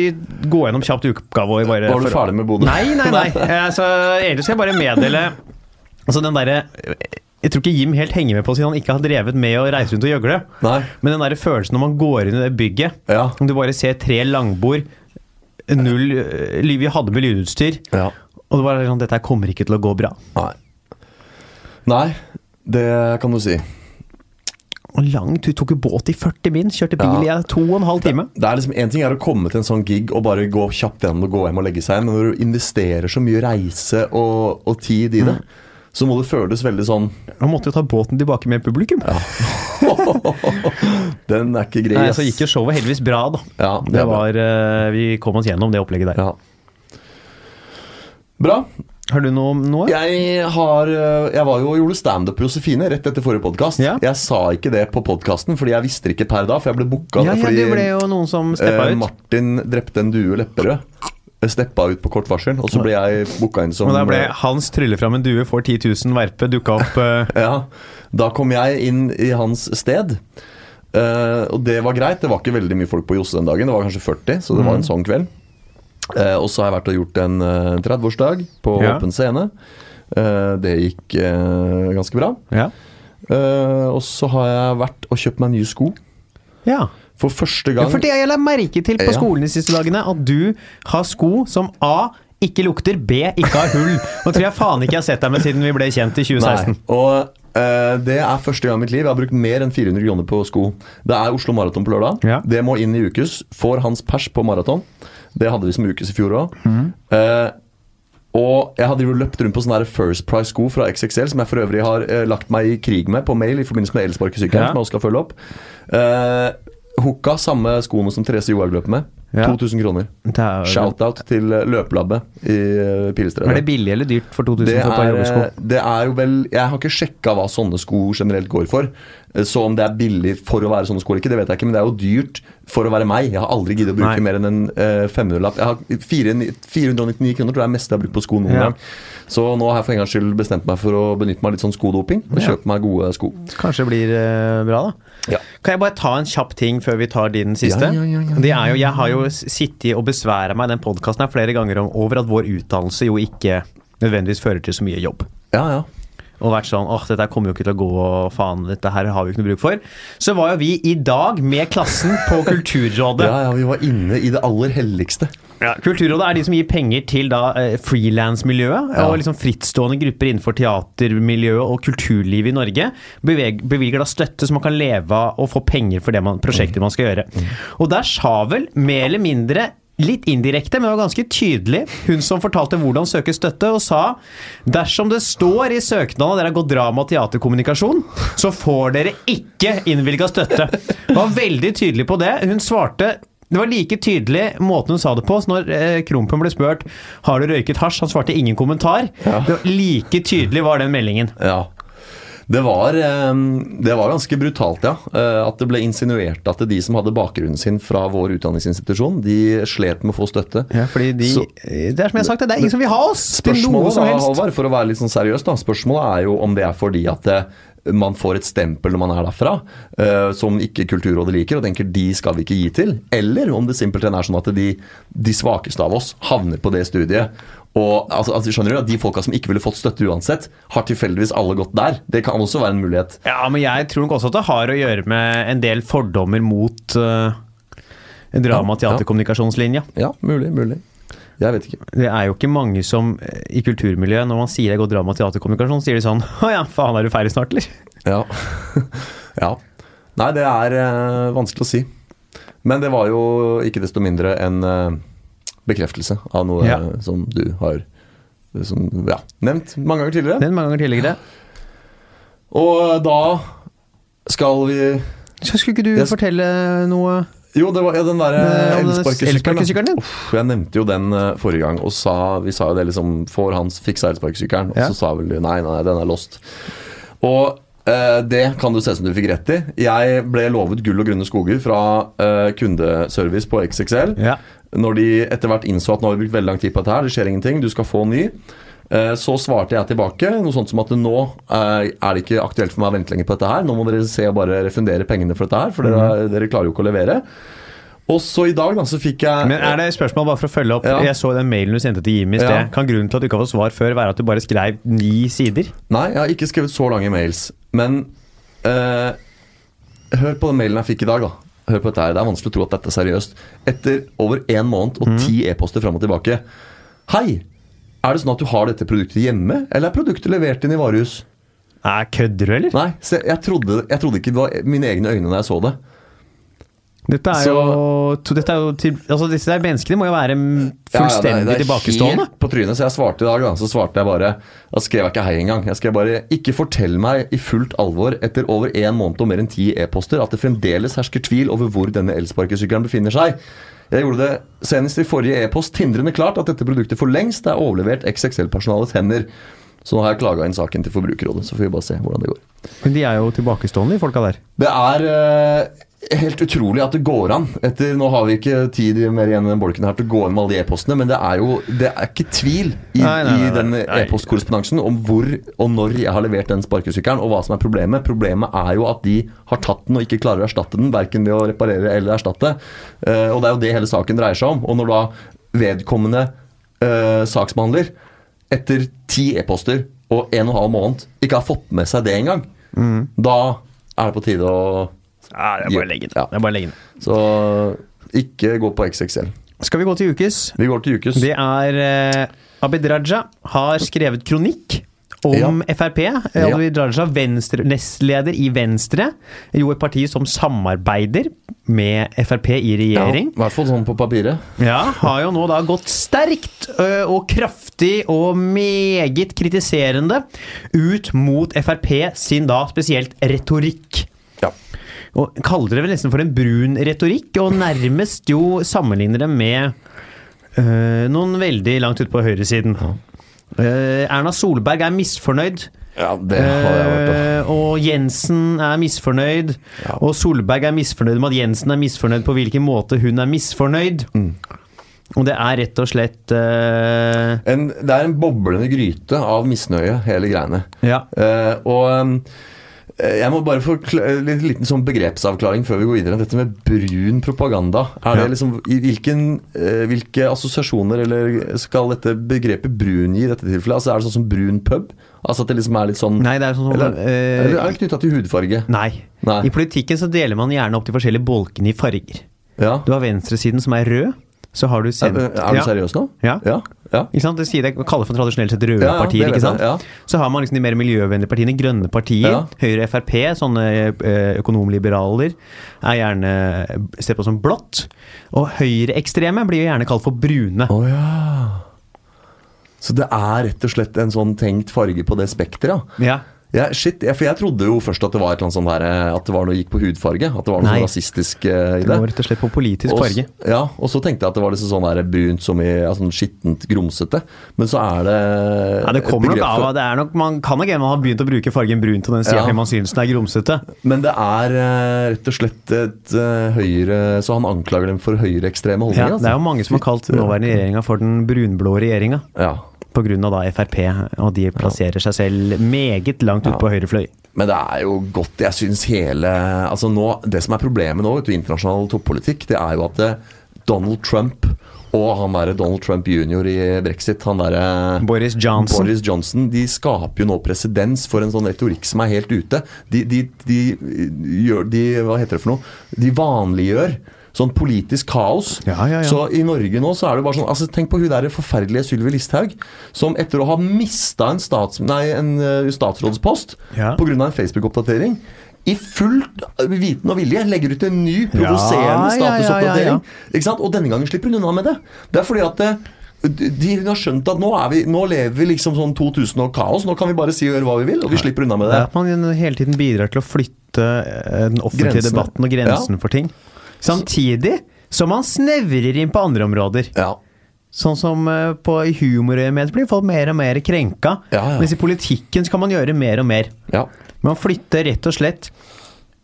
Speaker 2: gå gjennom kjapt uka vår? Bare
Speaker 3: Var du
Speaker 2: for-
Speaker 3: ferdig med Bodø?
Speaker 2: Nei, nei, nei. Eh, Så egentlig skal jeg bare meddele Altså den derre Jeg tror ikke Jim helt henger med på siden han ikke har drevet med å reise rundt og gjøgle.
Speaker 3: Nei.
Speaker 2: Men den der følelsen når man går inn i det bygget
Speaker 3: Ja.
Speaker 2: Om du bare ser tre langbord, null øh, ly- Vi hadde med lydutstyr.
Speaker 3: ja.
Speaker 2: Og det var sånn, dette her kommer ikke til å gå bra.
Speaker 3: Nei. Nei, det kan du si.
Speaker 2: Og langt, Du tok jo båt i 40 min, kjørte bil i to og en halv time.
Speaker 3: Det er liksom En ting er å komme til en sånn gig og bare gå kjapt gjennom og gå hjem og legge seg, men når du investerer så mye reise og, og tid i det,
Speaker 2: Mm.
Speaker 3: så må det føles veldig sånn
Speaker 2: Han måtte jo ta båten tilbake med publikum.
Speaker 3: Den er ikke grei.
Speaker 2: Nei,
Speaker 3: ass.
Speaker 2: Så gikk jo showet heldigvis bra, da.
Speaker 3: Ja, det
Speaker 2: Det
Speaker 3: er bra.
Speaker 2: var, eh, vi kom oss gjennom det opplegget der.
Speaker 3: Ja. Bra.
Speaker 2: Har du noe? noe?
Speaker 3: Jeg har øh, Jeg var jo og gjorde standup på Josefine rett etter forrige podkast.
Speaker 2: Ja.
Speaker 3: Jeg sa ikke det på podkasten, fordi jeg visste ikke per da, for jeg ble booka
Speaker 2: Ja, ja,
Speaker 3: fordi
Speaker 2: det ble jo noen som steppa
Speaker 3: eh,
Speaker 2: ut.
Speaker 3: Martin drepte en due Lepperød. Eh, Steppa ut på kort varsel, og så ble jeg booka inn som
Speaker 2: Og der ble Hans tryller fram en due, får 10 000, verpe, dukka opp. eh,
Speaker 3: Ja, Da kom jeg inn i hans sted. Eh, og det var greit. Det var ikke veldig mye folk på Josse den dagen. Det var kanskje 40, så det
Speaker 2: Mm.
Speaker 3: var en sånn kveld. Eh, og så har jeg vært og gjort en eh, 30-årsdag på
Speaker 2: Ja.
Speaker 3: åpen scene. Eh, det gikk eh, ganske bra.
Speaker 2: ja.
Speaker 3: Eh, og så har jeg vært og kjøpt meg nye sko.
Speaker 2: ja.
Speaker 3: For første
Speaker 2: Ja,
Speaker 3: gang
Speaker 2: for det jeg la merke til på
Speaker 3: Ja.
Speaker 2: skolen de siste dagene, at du har sko som A ikke lukter, B ikke har hull. Nå tror jeg faen ikke jeg har sett deg med siden vi ble kjent i 2016.
Speaker 3: Nei. Og eh, det er første gang i mitt liv jeg har brukt mer enn 400 kroner på sko. Det er Oslo Maraton på lørdag.
Speaker 2: Ja.
Speaker 3: Det må inn i ukes. Får hans pers på maraton. Det hadde vi som ukes i fjor òg.
Speaker 2: Mhm.
Speaker 3: og jeg hadde jo løpt rundt på sånne der First Price-sko fra XXL, som jeg for øvrig har eh, lagt meg i krig med på mail i forbindelse med
Speaker 2: Ja.
Speaker 3: elsparkesykkelen, som jeg også skal følge opp. Eh, Hooka samme skoene som Therese Johaug løper med.
Speaker 2: Ja.
Speaker 3: 2000 kroner.
Speaker 2: Det er,
Speaker 3: Shout-out til eh, Løpelabbet i eh, Pilestredet.
Speaker 2: er det billig eller dyrt for 2000
Speaker 3: Det
Speaker 2: for et par joggesko?
Speaker 3: er, det er jo vel Jeg har ikke sjekka hva sånne sko generelt går for. Så om det er billig for å være sånne sko eller ikke, det vet jeg ikke. Men det er jo dyrt for å være meg. Jeg har aldri giddet å bruke
Speaker 2: Nei.
Speaker 3: mer enn en eh, 500-lapp. Jeg har fire- 499 kroner tror jeg er det meste jeg har brukt på sko noen
Speaker 2: Ja.
Speaker 3: gang. Så nå har jeg for en gangs skyld bestemt meg for å benytte meg av litt sånn skodoping. Og
Speaker 2: Ja.
Speaker 3: kjøpe meg gode sko.
Speaker 2: Kanskje det blir eh, bra, da.
Speaker 3: Ja.
Speaker 2: Kan jeg bare ta en kjapp ting før vi tar din siste?
Speaker 3: Ja, ja, ja, ja.
Speaker 2: Det er jo, jeg har jo s- sittet og besværa meg i den podkasten flere ganger om, over at vår utdannelse jo ikke nødvendigvis fører til så mye jobb.
Speaker 3: Ja, ja.
Speaker 2: og vært sånn åh, dette her kommer jo ikke til å gå, og faen, dette her har vi ikke noe bruk for. Så var jo vi i dag med klassen på Kulturrådet.
Speaker 3: ja, ja vi var inne i det aller helligste.
Speaker 2: Ja, Kulturrådet er de som gir penger til da eh, frilansmiljøet
Speaker 3: Ja.
Speaker 2: og liksom frittstående grupper innenfor teatermiljøet og kulturlivet i Norge. Beveg, bevilger da støtte så man kan leve av og få penger for det man, prosjekter man skal gjøre. Og der sa vel mer eller mindre Litt indirekte, men det var ganske tydelig. Hun som fortalte hvordan søke støtte, og sa dersom det står i søknaden at dere har gått drama og teaterkommunikasjon, så får dere ikke innvilga støtte. Var veldig tydelig på det. Hun svarte det var like tydelig måten hun sa det på. Så når eh, Krompen ble spurt Har du røyket hasj, han svarte ingen kommentar. Det var like tydelig var den meldingen.
Speaker 3: Ja. Det var, eh, det var ganske brutalt, ja. Eh, At det ble insinuert at de som hadde bakgrunnen sin fra vår utdanningsinstitusjon, de slet med å få støtte. Så
Speaker 2: Det er som jeg har sagt, det er ingen som vil ha oss!
Speaker 3: spørsmålet da, Halvard, for å være litt sånn seriøs, da, spørsmålet er jo om det er fordi at eh, man får et stempel når man er derfra, eh, som ikke Kulturrådet liker, og tenker de skal vi ikke gi til. Eller om det simpelthen er sånn at de, de svakeste av oss havner på det studiet. Og altså, altså, skjønner du at De folka som ikke ville fått støtte uansett, har tilfeldigvis alle gått der. Det kan også være en mulighet.
Speaker 2: Ja, men jeg tror nok også at det har å gjøre med en del fordommer mot eh, drama- og
Speaker 3: Ja, ja.
Speaker 2: teaterkommunikasjonslinja.
Speaker 3: Ja, mulig, mulig. Jeg vet ikke.
Speaker 2: Det er jo ikke mange som eh, i kulturmiljøet, når man sier jeg går drama- og teaterkommunikasjon, sier de sånn Å ja, faen, er du ferdig snart, eller?
Speaker 3: Ja. ja. Nei, det er eh, vanskelig å si. Men det var jo ikke desto mindre en eh, bekreftelse av noe
Speaker 2: Ja.
Speaker 3: eh, som du har eh, som, ja, nevnt mange ganger tidligere.
Speaker 2: Den mange ganger tidligere.
Speaker 3: Og da skal vi
Speaker 2: Så skulle ikke du
Speaker 3: Jeg sk-
Speaker 2: fortelle noe
Speaker 3: Jo, det var ja, den derre
Speaker 2: Eh, om den
Speaker 3: elsparkesykkelen.
Speaker 2: elsparkesykkelen
Speaker 3: da.
Speaker 2: din?
Speaker 3: Uff, Jeg nevnte jo den eh, forrige gang, og sa, vi sa jo det liksom Får Hans fiksa elsparkesykkelen?
Speaker 2: Ja.
Speaker 3: Og så sa vel du nei, nei, den er lost. Og eh, det kan du se som du fikk rett i. Jeg ble lovet gull og grønne skoger fra eh, kundeservice på XXL.
Speaker 2: Ja.
Speaker 3: Når de etter hvert innså at nå har vi brukt veldig lang tid på dette her, det skjer ingenting, du skal få ny. Eh, Så svarte jeg tilbake noe sånt som at nå eh, er det ikke aktuelt for meg å vente lenger på dette her. Nå må dere se og bare refundere pengene for dette her, for dere,
Speaker 2: Mhm.
Speaker 3: dere klarer jo ikke å levere. Og så i dag da, så fikk jeg
Speaker 2: Men er det et spørsmål bare for å følge opp?
Speaker 3: Ja.
Speaker 2: Jeg så den mailen du sendte til Jimmy i sted.
Speaker 3: Ja.
Speaker 2: Kan grunnen til at du ikke har fått svar før, være at du bare skrev ni sider?
Speaker 3: Nei, jeg har ikke skrevet så lange mails. Men eh, hør på den mailen jeg fikk i dag, da. Hør på dette her, Det er vanskelig å tro at dette er seriøst. Etter over én måned og ti e-poster fram og tilbake. Hei! Er det sånn at du har dette produktet hjemme, eller er produktet levert inn i varehus?
Speaker 2: Nei, kødder du, eller?
Speaker 3: Nei, se, jeg, trodde, jeg trodde ikke det var mine egne øyne da jeg så det.
Speaker 2: Dette er jo, to, dette er jo til, altså Disse der menneskene må jo være mm, fullstendig
Speaker 3: Ja, ja, det er- det er
Speaker 2: tilbakestående.
Speaker 3: helt På trynet, så jeg svarte i dag, da, så svarte jeg bare Da skrev jeg ikke hei engang. Jeg skrev bare 'Ikke fortell meg i fullt alvor etter over en måned og mer enn ti e-poster' 'at det fremdeles hersker tvil over hvor denne elsparkesykkelen befinner seg'. Jeg gjorde det senest i forrige e-post tindrende klart at dette produktet for lengst er overlevert XXL-personalets hender. Så nå har jeg klaga inn saken til Forbrukerrådet, så får vi bare se hvordan det går.
Speaker 2: Men de er jo tilbakestående, de folka der.
Speaker 3: Det er eh, helt utrolig at det går an. Etter, nå har vi ikke tid mer igjen i den bolken her til å gå inn med alle de e-postene, men det er jo det er ikke tvil i,
Speaker 2: Nei, nei, nei,
Speaker 3: i den e-postkorrespondansen om hvor og når jeg har levert den sparkesykkelen, og hva som er problemet. Problemet er jo at de har tatt den og ikke klarer å erstatte den, verken ved å reparere eller erstatte. Eh, og det er jo det hele saken dreier seg om. Og når da vedkommende eh, saksbehandler etter ti e-poster og en og en halv måned ikke har fått med seg det engang,
Speaker 2: Mm.
Speaker 3: da er det på tide å
Speaker 2: Ja, det
Speaker 3: er bare å legge det. Ja. Det
Speaker 2: er bare å legge det.
Speaker 3: Så ikke gå på XXL.
Speaker 2: Skal vi gå til ukes?
Speaker 3: Vi går til ukes.
Speaker 2: Det er eh, Abid Raja har skrevet kronikk om
Speaker 3: Ja.
Speaker 2: Frp. Eh,
Speaker 3: Ja.
Speaker 2: Abid Raja, venstre, nestleder i Venstre. Jo, et parti som samarbeider med Frp i
Speaker 3: Ja, I
Speaker 2: regjering.
Speaker 3: hvert fall sånn på papiret.
Speaker 2: Ja, har jo nå da gått sterkt ø, og kraftig og meget kritiserende ut mot Frp sin da spesielt retorikk.
Speaker 3: Ja.
Speaker 2: Og kaller det vel nesten for en brun retorikk, og nærmest jo sammenligner det med ø, noen veldig langt ute på høyresiden. Eh, Erna Solberg er misfornøyd.
Speaker 3: Ja, det har jeg vært da.
Speaker 2: Eh, og Jensen er misfornøyd.
Speaker 3: Ja.
Speaker 2: Og Solberg er misfornøyd med at Jensen er misfornøyd på hvilken måte hun er misfornøyd.
Speaker 3: Mm.
Speaker 2: Og det er rett og slett eh,
Speaker 3: En, det er en boblende gryte av misnøye, hele greiene.
Speaker 2: Ja.
Speaker 3: Eh, og eh, jeg må bare få kl- en liten, liten sånn begrepsavklaring før vi går videre. Dette med brun propaganda. Er det liksom, i hvilken, eh, hvilke assosiasjoner eller skal dette begrepet brun gi i dette tilfellet? Altså, er det sånn som brun pub? Altså at det liksom er litt sånn
Speaker 2: Nei, det er sånn
Speaker 3: Eller,
Speaker 2: eh,
Speaker 3: eller er det knytta til hudfarge?
Speaker 2: nei.
Speaker 3: Nei.
Speaker 2: I politikken så deler man gjerne opp de forskjellige bolkene i farger.
Speaker 3: Ja.
Speaker 2: Du har venstresiden som er rød, så har du
Speaker 3: Er, eh,
Speaker 2: sent...
Speaker 3: er du
Speaker 2: Ja.
Speaker 3: seriøs nå?
Speaker 2: Ja.
Speaker 3: ja. ja.
Speaker 2: Ikke sant? Det sier det kaller for tradisjonelt sett røde
Speaker 3: Ja, ja,
Speaker 2: partier.
Speaker 3: det
Speaker 2: ikke sant?
Speaker 3: vet jeg, ja.
Speaker 2: Så har man liksom de mer miljøvennlige partiene, grønne partier.
Speaker 3: Ja.
Speaker 2: Høyre Frp, sånne eh, økonomliberaler, er gjerne sett på som blått. Og høyreekstreme blir jo gjerne kalt for brune.
Speaker 3: Å ja. Så det er rett og slett en sånn tenkt farge på det spekteret? Ja.
Speaker 2: Ja.
Speaker 3: Ja, shit, ja, for jeg trodde jo først at det var et eller annet sånn der, eh, At det var noe gikk på hudfarge. At det var noe
Speaker 2: Nei.
Speaker 3: sånn rasistisk eh, i
Speaker 2: Det
Speaker 3: det.
Speaker 2: går rett og slett på politisk
Speaker 3: Og s-
Speaker 2: farge.
Speaker 3: Ja, og så tenkte jeg at det var liksom sånn der brunt som i ja, sånn skittent, grumsete. Men så er det
Speaker 2: Ja, det
Speaker 3: et
Speaker 2: kommer nok
Speaker 3: begrep
Speaker 2: av
Speaker 3: for-
Speaker 2: at det er nok, Man kan nok hende man har begynt å bruke fargen brun til den sida
Speaker 3: Ja.
Speaker 2: fordi man syns den er grumsete.
Speaker 3: Men det er eh, rett og slett et eh, høyre Så han anklager dem for høyreekstreme
Speaker 2: Ja,
Speaker 3: holdninger. altså.
Speaker 2: det er jo mange som har kalt
Speaker 3: Fytti-
Speaker 2: nåværende regjeringa for den brunblå regjeringa.
Speaker 3: ja.
Speaker 2: Pga. Frp, og de plasserer seg selv meget langt ut på høyre fløy.
Speaker 3: Men det er jo godt Jeg syns hele altså nå, Det som er problemet nå vet du, i internasjonal toppolitikk, det er jo at eh, Donald Trump og han derre Donald Trump jr. i brexit, han derre
Speaker 2: Boris Johnson.
Speaker 3: Boris Johnson, de skaper jo nå presedens for en sånn retorikk som er helt ute. De, de, de, eh, gjør de, Hva heter det for noe? De vanliggjør sånn politisk kaos.
Speaker 2: Ja, ja, ja.
Speaker 3: Så i Norge nå så er det jo bare sånn altså Tenk på hun der forferdelige Sylvi Listhaug, som etter å ha mista en, stats, nei, en eh, statsrådspost
Speaker 2: Ja.
Speaker 3: pga. en Facebook-oppdatering i fullt viten og vilje legger ut en ny
Speaker 2: Ja, ja, ja, ja,
Speaker 3: provoserende statusoppdatering.
Speaker 2: ja.
Speaker 3: Ikke sant? Og denne gangen slipper hun unna med det. Det er fordi at eh, de hun har skjønt at nå, er vi, nå lever vi liksom sånn 2000 og kaos. Nå kan vi bare si og gjøre hva vi vil, og vi slipper unna med
Speaker 2: Det
Speaker 3: det.
Speaker 2: er at man hele tiden bidrar til å flytte eh, den offentlige
Speaker 3: Grensene.
Speaker 2: debatten og grensen for ting. Samtidig som man snevrer inn på andre områder.
Speaker 3: Ja.
Speaker 2: Sånn som eh, på i humorøyemed blir folk mer og mer krenka.
Speaker 3: Ja, ja.
Speaker 2: Mens i politikken skal man gjøre mer og mer.
Speaker 3: ja.
Speaker 2: Man flytter rett og slett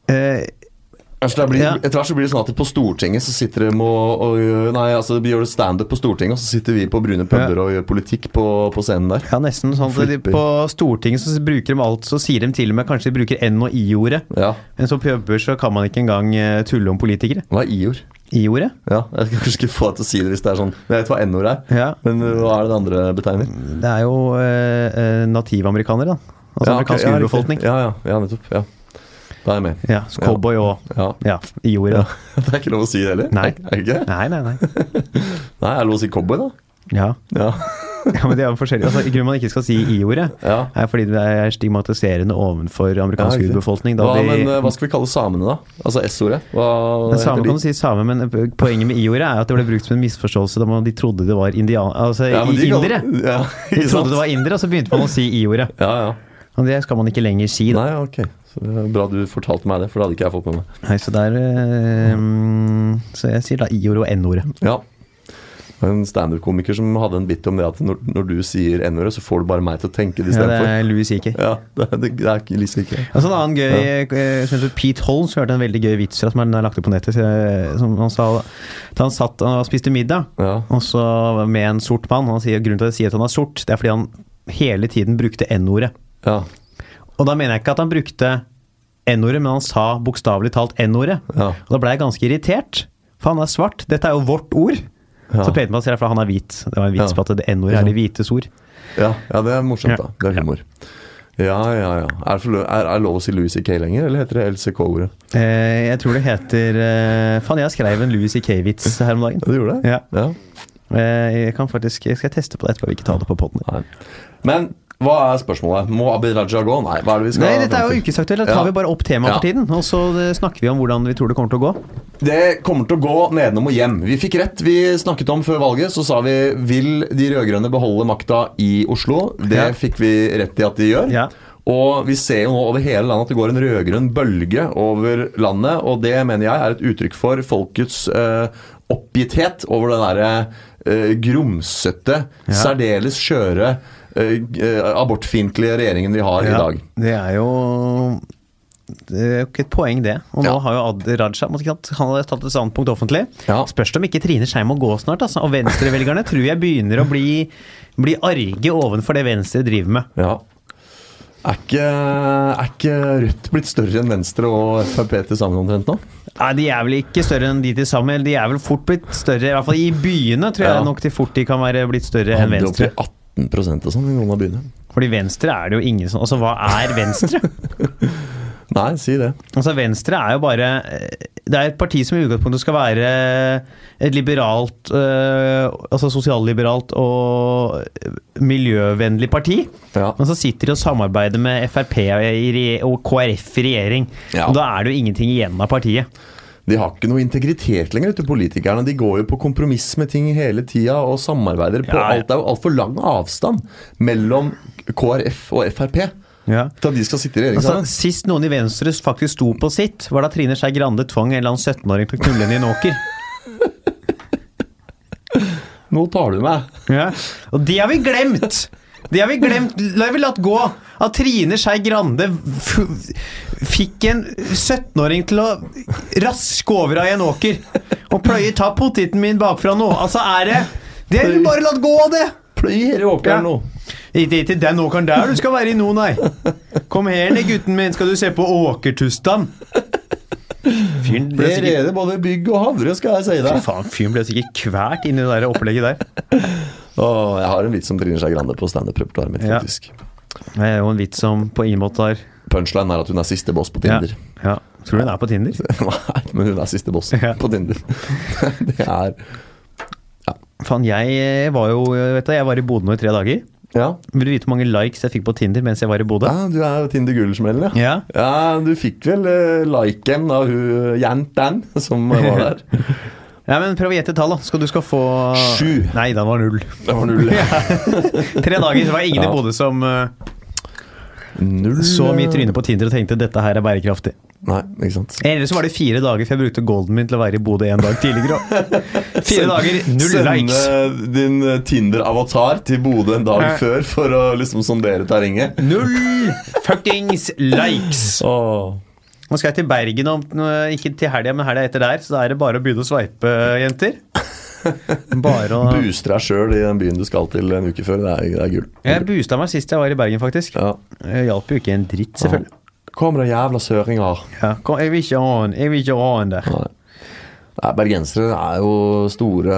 Speaker 2: eh,
Speaker 3: Altså, det blir,
Speaker 2: Ja.
Speaker 3: Etter hvert så blir det sånn at på Stortinget så sitter de og, og gjør- Nei, altså vi gjør det standup på Stortinget, og så sitter vi på brune puber og gjør politikk på, på scenen der.
Speaker 2: ja, nesten sånn at de,
Speaker 3: Flipper.
Speaker 2: På Stortinget så bruker de alt, så sier de til og med kanskje de bruker N- og I-ordet.
Speaker 3: Ja.
Speaker 2: Men som puber så kan man ikke engang eh, tulle om politikere.
Speaker 3: Hva er i-ord?
Speaker 2: I-ordet?
Speaker 3: Ja, jeg skal kanskje ikke få deg til å si det hvis det er sånn. Jeg vet hva n-ord er,
Speaker 2: Ja.
Speaker 3: men uh, hva er det det andre betegner?
Speaker 2: Det er jo eh, eh, nativamerikanere, da. Altså
Speaker 3: Ja, ok,
Speaker 2: amerikansk
Speaker 3: ja, riktig.
Speaker 2: urbefolkning.
Speaker 3: Ja, ja, ja, nettopp. Ja. Da er jeg med.
Speaker 2: Ja, så cowboy og
Speaker 3: Ja.
Speaker 2: Ja, i ordet.
Speaker 3: Ja. Det er ikke lov å si det heller?
Speaker 2: Nei.
Speaker 3: Er det ikke?
Speaker 2: Nei, nei, nei.
Speaker 3: Nei, er det lov å si cowboy, da?
Speaker 2: Ja.
Speaker 3: Ja.
Speaker 2: Ja, men det er jo forskjellig. Altså, grunnen man ikke skal si i-ordet,
Speaker 3: Ja.
Speaker 2: er fordi det er stigmatiserende ovenfor
Speaker 3: Ja,
Speaker 2: amerikansk
Speaker 3: riktig.
Speaker 2: urbefolkning. Da
Speaker 3: Hva,
Speaker 2: de,
Speaker 3: men, eh, hva skal vi kalle samene, da? Altså S-ordet? Hva
Speaker 2: men
Speaker 3: heter
Speaker 2: same
Speaker 3: de?
Speaker 2: kan du si same, men eh, poenget med i-ordet er at det ble brukt som en misforståelse da man, de trodde det var indian... Altså
Speaker 3: Ja, men de kaller-
Speaker 2: indere.
Speaker 3: Ja,
Speaker 2: De
Speaker 3: ikke sant?
Speaker 2: trodde det var indere, og så begynte man å si i-ordet.
Speaker 3: Ja, ja.
Speaker 2: Og det skal man ikke lenger si, da.
Speaker 3: Nei, ok. Så det er bra du fortalte meg det, for det hadde ikke jeg fått med meg.
Speaker 2: Nei, så der eh, mm, Så jeg sier da i-ordet og n-ordet.
Speaker 3: Ja. Det var En standup-komiker som hadde en bit om det at når, når du sier N-ordet, så får du bare meg til å tenke det
Speaker 2: Ja, det
Speaker 3: istedenfor.
Speaker 2: er Louis C.K.
Speaker 3: Ja, det, det, det er ikke liksom ikke
Speaker 2: Altså en annen gøy eh, som heter Pete Holmes hørte en veldig gøy vits fra som han har lagt ut på nettet. eh, Som han sa da han satt og spiste middag,
Speaker 3: Ja.
Speaker 2: og så med en sort mann. Han sier, grunnen til at jeg sier at han er sort, det er fordi han hele tiden brukte n-ordet.
Speaker 3: Ja.
Speaker 2: Og da mener jeg ikke at han brukte n-ordet, men han sa bokstavelig talt n-ordet.
Speaker 3: Ja.
Speaker 2: Og da ble jeg ganske irritert, for han er svart. Dette er jo vårt ord.
Speaker 3: Ja.
Speaker 2: Så pekte man seg for han er hvit. Det var en vits
Speaker 3: Ja.
Speaker 2: på at det n-ordet er de hvites ord.
Speaker 3: Ja, ja, det er morsomt,
Speaker 2: Ja.
Speaker 3: da. Det er humor. Ja, ja, ja. Er det for, lo- er, er lov å si Louis C.K. lenger, eller heter det LCK-ordet?
Speaker 2: Eh, jeg tror det heter eh, Faen, jeg skrev en Louis C.K.-vits her om dagen.
Speaker 3: Ja, du gjorde det?
Speaker 2: Ja. Eh, Jeg kan faktisk Jeg skal teste på det etterpå. Vi ikke ta det på podden.
Speaker 3: Nei. Men hva er spørsmålet? Må Abid Raja gå? Nei, hva er det vi skal
Speaker 2: Nei, dette er jo
Speaker 3: frem til?
Speaker 2: ukesaktuelt. Da tar
Speaker 3: Ja.
Speaker 2: vi bare opp temaet
Speaker 3: Ja.
Speaker 2: for tiden. Og så eh, snakker vi om hvordan vi tror det kommer til å gå.
Speaker 3: Det kommer til å gå nedenom og hjem. Vi fikk rett. Vi snakket om før valget, så sa vi vil de rød-grønne beholde makta i Oslo. Det
Speaker 2: Ja.
Speaker 3: fikk vi rett i at de gjør.
Speaker 2: Ja.
Speaker 3: Og vi ser jo nå over hele landet at det går en rød-grønn bølge over landet, og det mener jeg er et uttrykk for folkets eh, oppgitthet over det derre eh, grumsete, særdeles skjøre, eh, eh, abortfiendtlige regjeringen vi har i dag.
Speaker 2: Det er jo det er jo ikke et poeng, det. Og nå
Speaker 3: Ja.
Speaker 2: har jo Ad Raja måtte ikke sant, Han har tatt et standpunkt offentlig.
Speaker 3: Ja.
Speaker 2: Spørs om ikke Trine Skei må gå snart. Altså. Og venstrevelgerne tror jeg begynner å bli, bli arge ovenfor det Venstre driver med.
Speaker 3: Ja. Er ikke, er ikke Rødt blitt større enn Venstre og Frp til sammen omtrent nå?
Speaker 2: Nei, De er vel ikke større enn de til sammen. De er vel fort blitt større, i hvert fall i byene, tror jeg
Speaker 3: Ja.
Speaker 2: nok de fort de kan være blitt større enn
Speaker 3: Handler opp
Speaker 2: Venstre.
Speaker 3: til 18 og sånn i noen av byene.
Speaker 2: Fordi Venstre er det jo ingen som Altså, hva er Venstre?
Speaker 3: Nei, si det.
Speaker 2: altså, Venstre er jo bare eh, Det er et parti som i utgangspunktet skal være et liberalt øh, Altså sosialliberalt og miljøvennlig parti.
Speaker 3: Ja.
Speaker 2: Men så sitter de og samarbeider med Frp i re- og KrF i regjering.
Speaker 3: Ja.
Speaker 2: Og da er det jo ingenting igjen av partiet.
Speaker 3: De har ikke noe integritet lenger, vet du, politikerne. De går jo på kompromiss med ting hele tida og samarbeider på
Speaker 2: Ja, ja.
Speaker 3: alt. Det er jo altfor lang avstand mellom KrF og Frp
Speaker 2: Ja.
Speaker 3: til at de skal sitte i regjering
Speaker 2: Altså,
Speaker 3: sammen.
Speaker 2: sist noen i Venstre faktisk sto på sitt, var da Trine Skei Grande tvang en eller annen 17-åring til å knulle henne i en åker.
Speaker 3: Altså, Nå tar du meg.
Speaker 2: Ja. Og det har vi glemt! Det har vi glemt. La vi latt gå at Trine Skei Grande f- fikk en 17-åring til å raske over av en åker og pløye 'ta poteten min bakfra nå'. Altså, er det Det har vi bare latt gå, det!
Speaker 3: Pløyer i
Speaker 2: Ja.
Speaker 3: åkeren nå.
Speaker 2: Ikke til den åkeren der du skal være i nå, nei. Kom her ned, gutten min, skal du se på åkertustan. Fyren ble
Speaker 3: Det
Speaker 2: sikkert
Speaker 3: reder både bygg og havre, skal jeg si
Speaker 2: Fy
Speaker 3: deg.
Speaker 2: faen, fyren ble sikkert kvært inni det der opplegget der.
Speaker 3: Åh, jeg har en vits om Trine Skei Grande på standup-repertoaret mitt,
Speaker 2: Ja.
Speaker 3: faktisk.
Speaker 2: Det er jo en vits som på ingen måte har
Speaker 3: Punchline er at hun er siste boss på
Speaker 2: ja.
Speaker 3: Tinder.
Speaker 2: ja. Tror du hun er på Tinder?
Speaker 3: Nei, men hun er siste boss
Speaker 2: Ja.
Speaker 3: på Tinder. det er
Speaker 2: Faen, jeg eh, var jo vet du, jeg var i Bodø nå i tre dager.
Speaker 3: Ja.
Speaker 2: Vil du vite hvor mange likes jeg fikk på Tinder mens jeg var i Bodø?
Speaker 3: ja du er jo Tinder Gullsmellen, ja.
Speaker 2: Ja.
Speaker 3: Ja, du fikk vel eh, liken av hun jentan som var der.
Speaker 2: ja, men prøv å gjette et tall, da. Skal du skal få
Speaker 3: Sju.
Speaker 2: Nei, den var null.
Speaker 3: Det var null.
Speaker 2: Tre dager, så var det ingen
Speaker 3: Ja.
Speaker 2: i Bodø som eh,
Speaker 3: null. eh,
Speaker 2: så mye tryne på Tinder og tenkte dette her er bærekraftig.
Speaker 3: Nei, ikke sant.
Speaker 2: Ellers så var det fire dager, for jeg brukte golden min til å være i Bodø en dag tidligere. også. Fire dager, null likes.
Speaker 3: Sende din eh, Tinder-avatar til Bodø en dag
Speaker 2: Ja.
Speaker 3: før for å liksom sondere terrenget.
Speaker 2: Null fuckings likes!
Speaker 3: Åh.
Speaker 2: Nå skal jeg til Bergen om eh, ikke til helga, men helga etter der. Så da er det bare å begynne å sveipe, jenter. Bare å
Speaker 3: Booster deg sjøl i den byen du skal til en uke før. Det er, det er gull.
Speaker 2: Jeg boosta meg sist jeg var i Bergen, faktisk.
Speaker 3: Ja.
Speaker 2: Jeg hjalp jo ikke en dritt, selvfølgelig.
Speaker 3: Kommer det jævla søringer.
Speaker 2: Ja. Kom, jeg vil ikke ha han, jeg vil ikke ha han der.
Speaker 3: Nei. Nei, bergensere er jo store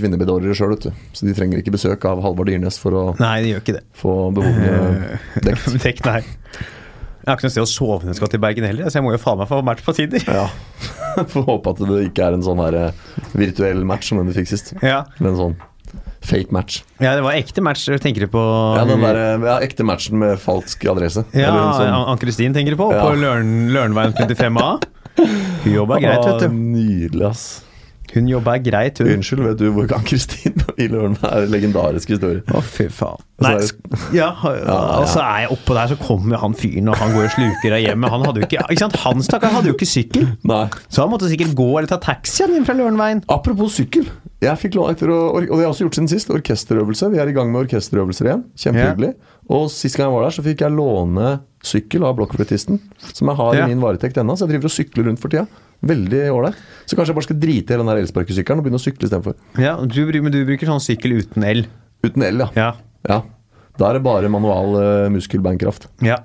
Speaker 3: kvinnebedårere sjøl, vet du. Så de trenger ikke besøk av Halvard Dyrnes for å
Speaker 2: Nei, det gjør ikke det.
Speaker 3: få behovene dekt.
Speaker 2: Dekk, nei. Jeg har ikke noe sted å sove når jeg skal til Bergen heller, så jeg må jo faen meg få match på Tinder.
Speaker 3: Ja. Får håpe at det ikke er en sånn her eh, virtuell match som den du fikk sist.
Speaker 2: Ja.
Speaker 3: Men sånn fake match.
Speaker 2: Ja, det var ekte match. Tenker du på
Speaker 3: Ja, den der, eh, ja, ekte matchen med falsk adresse.
Speaker 2: Ja,
Speaker 3: Eller en sånn-
Speaker 2: An- Ann-Kristin tenker du på?
Speaker 3: Ja.
Speaker 2: På Løren, Lørenveien 55A? Hun jobba greit, vet
Speaker 3: Ah,
Speaker 2: du.
Speaker 3: Nydelig, ass.
Speaker 2: Hun jobba greit, hun.
Speaker 3: Unnskyld, vet du hvor Ann-Kristin i Løren er legendarisk historie?
Speaker 2: Å, fy faen.
Speaker 1: Nei,
Speaker 3: Så er-
Speaker 2: Ja, og så er jeg oppå der, så kommer han fyren, og han går og sluker av hjemmet. Han hadde jo ikke, ikke sant? Han stakkar hadde jo ikke sykkel,
Speaker 3: Nei.
Speaker 2: så han måtte sikkert gå eller ta taxien inn fra Lørenveien.
Speaker 3: Apropos sykkel. Jeg fikk lov etter å, og det har jeg også gjort siden sist, orkesterøvelse. Vi er i gang med orkesterøvelser igjen. Kjempehyggelig. Og sist gang jeg var der, så fikk jeg låne sykkel av blokkfløytisten. Som jeg har
Speaker 2: Ja.
Speaker 3: i min varetekt ennå, så jeg driver og sykler rundt for tida. Veldig ålreit. Så kanskje jeg bare skal drite i hele den der elsparkesykkelen og begynne å sykle istedenfor.
Speaker 2: Ja, du, bru- men du bruker sånn sykkel uten el.
Speaker 3: Uten el, ja.
Speaker 2: Ja.
Speaker 3: ja. Da er det bare manual eh, muskelbeinkraft.
Speaker 2: ja.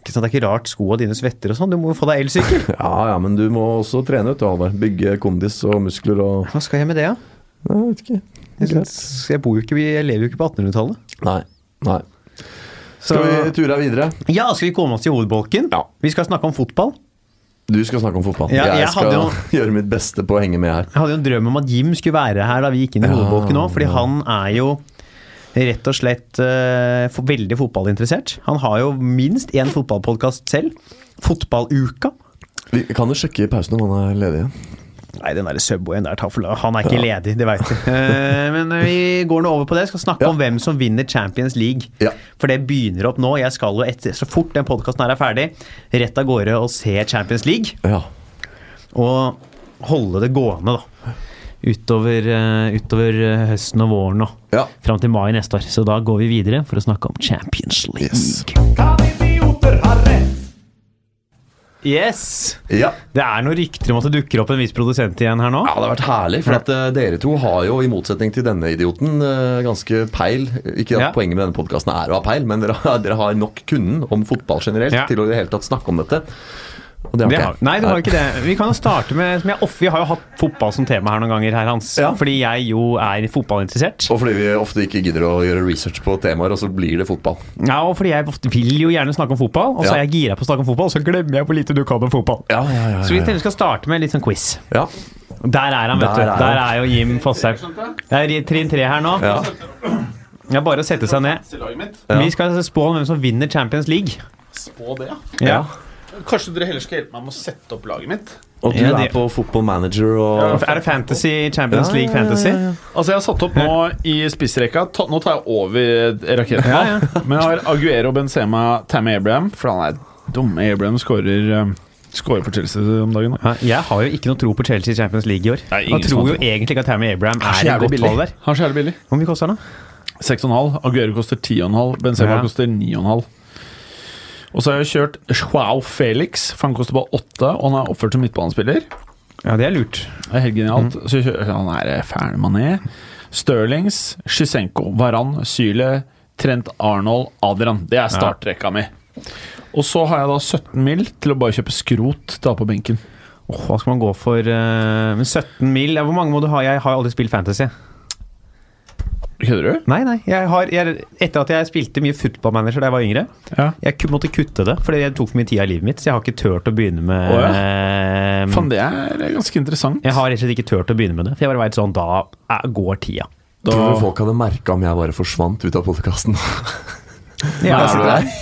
Speaker 2: Ikke sant, Det er ikke rart skoa dine svetter og sånn, du må jo få deg elsykkel.
Speaker 3: Ja ja, men du må også trene, vet du, Halvard. Bygge kondis og muskler og
Speaker 2: Hva skal jeg med det, da?
Speaker 3: Jeg vet ikke.
Speaker 2: Jeg, synes- jeg, bor jo ikke, jeg lever jo ikke på 1800-tallet.
Speaker 3: Nei. Nei.
Speaker 2: Så-
Speaker 3: Skal vi ture videre?
Speaker 2: Ja, skal vi komme oss til hovedbolken?
Speaker 3: Ja.
Speaker 2: Vi skal snakke om fotball.
Speaker 3: Du skal snakke om fotball.
Speaker 2: Ja,
Speaker 3: jeg,
Speaker 2: jeg
Speaker 3: skal
Speaker 2: hadde
Speaker 3: gjøre mitt beste på å henge med her.
Speaker 2: Jeg hadde jo en drøm om at Jim skulle være her da vi gikk inn i
Speaker 3: Ja.
Speaker 2: hovedbolken òg, fordi han er jo rett og slett eh, for veldig fotballinteressert. Han har jo minst én fotballpodkast selv. Fotballuka.
Speaker 3: Vi kan jo sjekke i pausen om han er ledig igjen.
Speaker 2: Nei, den der Subwayen der tar for la- Han er ikke ledig, det veit jeg. Eh, men vi går nå over på det. Skal snakke
Speaker 3: Ja.
Speaker 2: om hvem som vinner Champions League.
Speaker 3: Ja.
Speaker 2: For det begynner opp nå. Jeg skal jo etter, så fort den podkasten her er ferdig, rett av gårde og se Champions League.
Speaker 3: Ja.
Speaker 2: og holde det gående da utover, eh, utover eh, høsten og våren nå.
Speaker 3: Ja.
Speaker 2: Fram til mai neste år. Så da går vi videre for å snakke om Champions League.
Speaker 3: Yes.
Speaker 2: Yes!
Speaker 3: ja.
Speaker 2: Det er noen rykter om at det dukker opp en viss produsent igjen her nå.
Speaker 3: Ja, det har vært herlig, for at eh, dere to har jo, i motsetning til denne idioten, eh, ganske peil. Ikke at
Speaker 2: Ja.
Speaker 3: poenget med denne podkasten er å ha peil, men dere har, dere har nok kunden om fotball generelt
Speaker 2: Ja.
Speaker 3: til å i det hele tatt snakke om dette. Og det
Speaker 2: Det
Speaker 3: ikke
Speaker 2: har,
Speaker 3: jeg.
Speaker 2: nei, det var jo ikke det. Vi kan jo starte med som jeg, ofte- Vi har jo hatt fotball som tema her noen ganger, her, Hans.
Speaker 3: Ja.
Speaker 2: Fordi jeg jo er fotballinteressert.
Speaker 3: Og fordi vi ofte ikke gidder å gjøre research på temaer, og så blir det fotball.
Speaker 2: Ja, og fordi jeg ofte vil jo gjerne snakke om fotball, og så
Speaker 3: Ja.
Speaker 2: er jeg gira på å snakke om fotball, og så glemmer jeg hvor lite du kan om fotball.
Speaker 3: Ja, ja, ja,
Speaker 2: Så vi tenkte vi skal starte med litt sånn quiz.
Speaker 3: ja.
Speaker 2: Der er han, vet
Speaker 3: Der
Speaker 2: du.
Speaker 3: er
Speaker 2: Der
Speaker 3: han.
Speaker 2: er jo Jim Fosheim. Det er i trinn tre her nå.
Speaker 3: Ja.
Speaker 2: Det er bare å sette seg ned. Vi skal altså spå om hvem som vinner Champions League.
Speaker 4: Spå det, ja.
Speaker 2: Ja.
Speaker 4: Kanskje dere heller skal hjelpe meg med å sette opp laget mitt?
Speaker 3: Og du
Speaker 2: Ja,
Speaker 3: er
Speaker 2: det-
Speaker 3: på football manager og
Speaker 2: Er det fantasy, Champions
Speaker 3: Ja,
Speaker 2: League
Speaker 3: ja, ja,
Speaker 2: fantasy?
Speaker 3: ja, ja.
Speaker 4: Altså, jeg har satt opp nå i spissrekka. Ta, nå tar jeg over raketten.
Speaker 2: Ja, ja.
Speaker 4: Men jeg har Aguero, Benzema, Tammy Abraham. For han er dumme. Abraham skårer eh, Skårer for Chelsea om dagen. Da.
Speaker 2: Ja, Jeg har jo ikke noe tro på Chelsea i Champions League i år.
Speaker 4: Nei, ingen
Speaker 2: Jeg tror
Speaker 4: som
Speaker 2: jo
Speaker 4: har
Speaker 2: egentlig ikke at Tammy Abraham er et godt valg der.
Speaker 4: Han er så jævlig billig.
Speaker 2: Hvor mye koster han, da?
Speaker 4: 6,5. Aguero koster 10,5. Benzema
Speaker 2: Ja.
Speaker 4: koster 9,5. Og så har jeg kjørt Joao Felix, for han koster bare 8, og han er oppført som midtbanespiller.
Speaker 2: Ja, det er lurt.
Speaker 4: Det er helt genialt.
Speaker 2: Mm.
Speaker 4: Så jeg kjører, han er ferdig mané. Stirlings, Sjisenko, Varan, Syle, Trent Arnold, Adrian. Det er startrekka mi. Og så har jeg da 17 mil til å bare kjøpe skrot til å ha på benken.
Speaker 2: Åh, hva skal man gå for? eh, men 17 mil ja, Hvor mange må du ha? Jeg har jo aldri spilt fantasy.
Speaker 4: Kødder du?
Speaker 2: Nei, nei. Jeg har, jeg, etter at jeg spilte mye footballmanager da jeg var yngre,
Speaker 4: Ja.
Speaker 2: Jeg ku- måtte kutte det, fordi det tok for mye tid av livet mitt. Så jeg har ikke turt å begynne med
Speaker 4: Å,
Speaker 2: eh,
Speaker 4: Faen, det er ganske interessant.
Speaker 2: Jeg har rett og slett ikke turt å begynne med det. For jeg bare vet sånn, da er, går tida.
Speaker 3: Tror du folk hadde merka om jeg bare forsvant ut av podkasten?
Speaker 2: Ja, altså,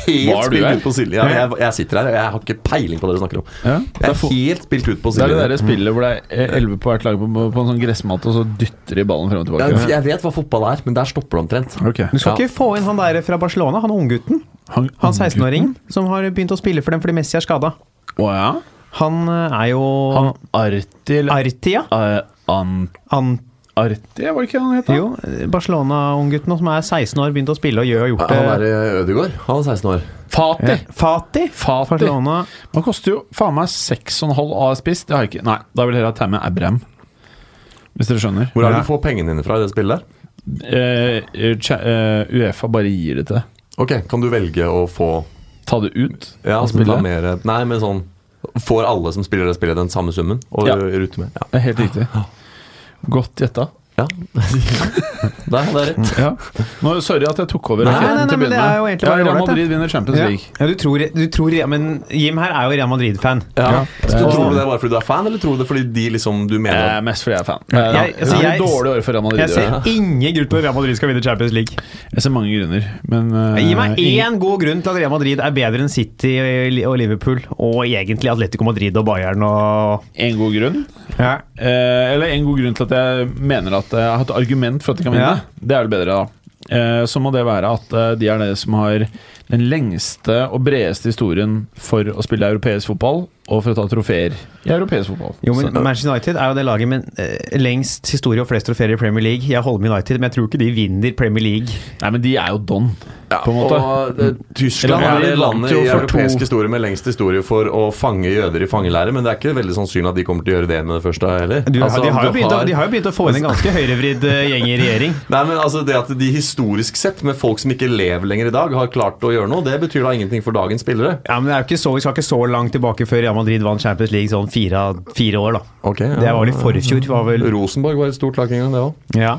Speaker 3: Jeg sitter her helt
Speaker 4: Var du
Speaker 3: spilt
Speaker 4: der?
Speaker 3: ut på Silje. Ja, jeg, jeg sitter her, og jeg har ikke peiling på hva dere snakker om.
Speaker 4: Ja.
Speaker 3: Jeg er helt spilt ut på
Speaker 4: Det er det
Speaker 3: Silje.
Speaker 4: der spillet hvor det er eh, elleve på hvert lag på, på en sånn gressmatte, og så dytter de ballen frem og
Speaker 3: Jeg,
Speaker 4: tilbake.
Speaker 3: jeg vet hva fotball er, men der stopper det omtrent.
Speaker 4: Ok.
Speaker 2: Du skal
Speaker 3: Ja.
Speaker 2: ikke få inn han der fra Barcelona, han unggutten.
Speaker 4: Han,
Speaker 2: Han 16-åringen som har begynt å spille for dem fordi Messi er skada.
Speaker 4: Å ja.
Speaker 2: Han eh, er jo
Speaker 4: Han Arti eller
Speaker 2: Artia.
Speaker 4: Ar- An-
Speaker 2: Han,
Speaker 4: Arti, var det ikke han het? da?
Speaker 2: jo, eh, Barcelona-unggutten nå som er 16 år, begynte å spille og gjør og gjort
Speaker 3: Han
Speaker 2: det.
Speaker 3: der Ødegaard, han er 16 år.
Speaker 4: Fati.
Speaker 2: Fati.
Speaker 4: Fati.
Speaker 2: Barcelona.
Speaker 4: Han koster jo faen meg 6,5 AS spiss. Det har jeg ikke. Nei, da vil jeg heller ha Tamme Abraham. Hvis dere skjønner.
Speaker 3: Hvor er det du får pengene dine fra i det spillet der?
Speaker 4: Eh, cha- eh, Uefa bare gir det til deg.
Speaker 3: Ok, kan du velge å få
Speaker 4: Ta det ut
Speaker 3: Ja,
Speaker 4: og
Speaker 3: spille
Speaker 4: spille.
Speaker 3: mer Nei, men sånn Får alle som spiller det spillet, den samme summen? Og
Speaker 4: Ja.
Speaker 3: rute med? Ja.
Speaker 4: Det er helt riktig. Godt gjetta.
Speaker 3: Ja. Nei, det er rett.
Speaker 4: Ja. Nå, sorry at jeg tok over.
Speaker 3: Nei,
Speaker 4: raketten
Speaker 2: nei, nei, men det
Speaker 4: til å begynne
Speaker 2: er jo
Speaker 4: med.
Speaker 2: egentlig bare
Speaker 4: ja, Real
Speaker 2: ålreit, det.
Speaker 4: Madrid vinner Champions
Speaker 2: Ja.
Speaker 4: League.
Speaker 2: Ja, du tror, du tror ja, Men Jim her er jo Real Madrid-fan.
Speaker 4: Ja.
Speaker 3: Så
Speaker 4: Eh,
Speaker 3: tror du det er bare fordi du er fan, eller tror du det er fordi de liksom du mener
Speaker 4: Eh, mest fordi jeg er fan. Eh,
Speaker 2: Jeg-
Speaker 4: det
Speaker 2: altså,
Speaker 4: blir
Speaker 2: jeg-
Speaker 4: dårlig år for Real Madrid.
Speaker 2: Jeg
Speaker 4: i år.
Speaker 2: ser ingen grunn til at Real Madrid skal vinne Champions League.
Speaker 4: Jeg ser mange grunner, men eh,
Speaker 2: Gi meg
Speaker 4: ingen-
Speaker 2: én god grunn til at Real Madrid er bedre enn City og Liverpool, og egentlig Atletico Madrid og Bayern og
Speaker 4: en god grunn. Eh, eller en god grunn til at jeg mener at eh, jeg har et argument for at de kan vinne.
Speaker 2: Ja.
Speaker 4: Det er vel bedre, da. Eh, så må det være at eh, de er det som har den lengste og bredeste historien for å spille europeisk fotball, og for å ta trofeer i europeisk fotball.
Speaker 2: Jo, men
Speaker 4: så,
Speaker 2: Manchester United er jo det laget med eh, lengst historie og flest trofeer i Premier League. Jeg holder med United, men jeg tror ikke de vinner Premier League.
Speaker 4: nei, men de er jo don, på en måte.
Speaker 3: Og det, Tyskland Mm.
Speaker 4: Eller
Speaker 3: er
Speaker 4: er
Speaker 3: det
Speaker 4: det langt
Speaker 3: landet i
Speaker 4: jo for
Speaker 3: europeisk
Speaker 4: to-
Speaker 3: historie med lengst historie for å fange jøder i fangelære, men det er ikke veldig sannsynlig at de kommer til å gjøre det med det første heller.
Speaker 2: Du,
Speaker 3: Altså,
Speaker 2: de, har jo
Speaker 3: du
Speaker 2: begynt, å-
Speaker 3: har-
Speaker 2: de har jo begynt å få inn en ganske høyrevridd eh, gjeng i regjering.
Speaker 3: Nei, men altså Det at de historisk sett, med folk som ikke lever lenger i dag, har klart å gjøre noe, det betyr da ingenting for dagens spillere.
Speaker 2: Ja, men det er jo ikke så, Vi skal ikke så langt tilbake før Real Madrid vant Champions League sånn fire, fire år, da.
Speaker 3: Ok, ja.
Speaker 2: Det var vel i forfjor. var vel
Speaker 3: Rosenborg var et stort lag en gang, det òg.
Speaker 2: ja.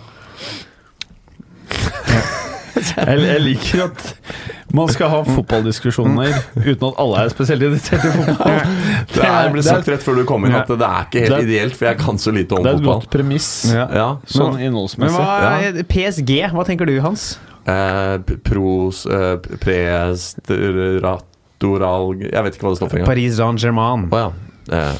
Speaker 4: Jeg, jeg liker at man skal ha fotballdiskusjoner uten at alle er spesielt irritert i fotball.
Speaker 3: Det, er- ble
Speaker 4: det er-
Speaker 3: sagt rett før du kom inn at det er ikke helt
Speaker 4: Det er-
Speaker 3: ideelt, for jeg kan så lite om
Speaker 4: Det er et
Speaker 3: fotball.
Speaker 4: godt premiss,
Speaker 2: Ja.
Speaker 3: Ja,
Speaker 4: sånn
Speaker 2: Men
Speaker 4: innholdsmessig.
Speaker 2: hva, PSG, hva tenker du, Hans?
Speaker 3: eh, p- Pros eh, p- Prestatoral Jeg vet ikke hva det står for engang.
Speaker 2: Paris Saint-Germain.
Speaker 3: Å ja. Eh,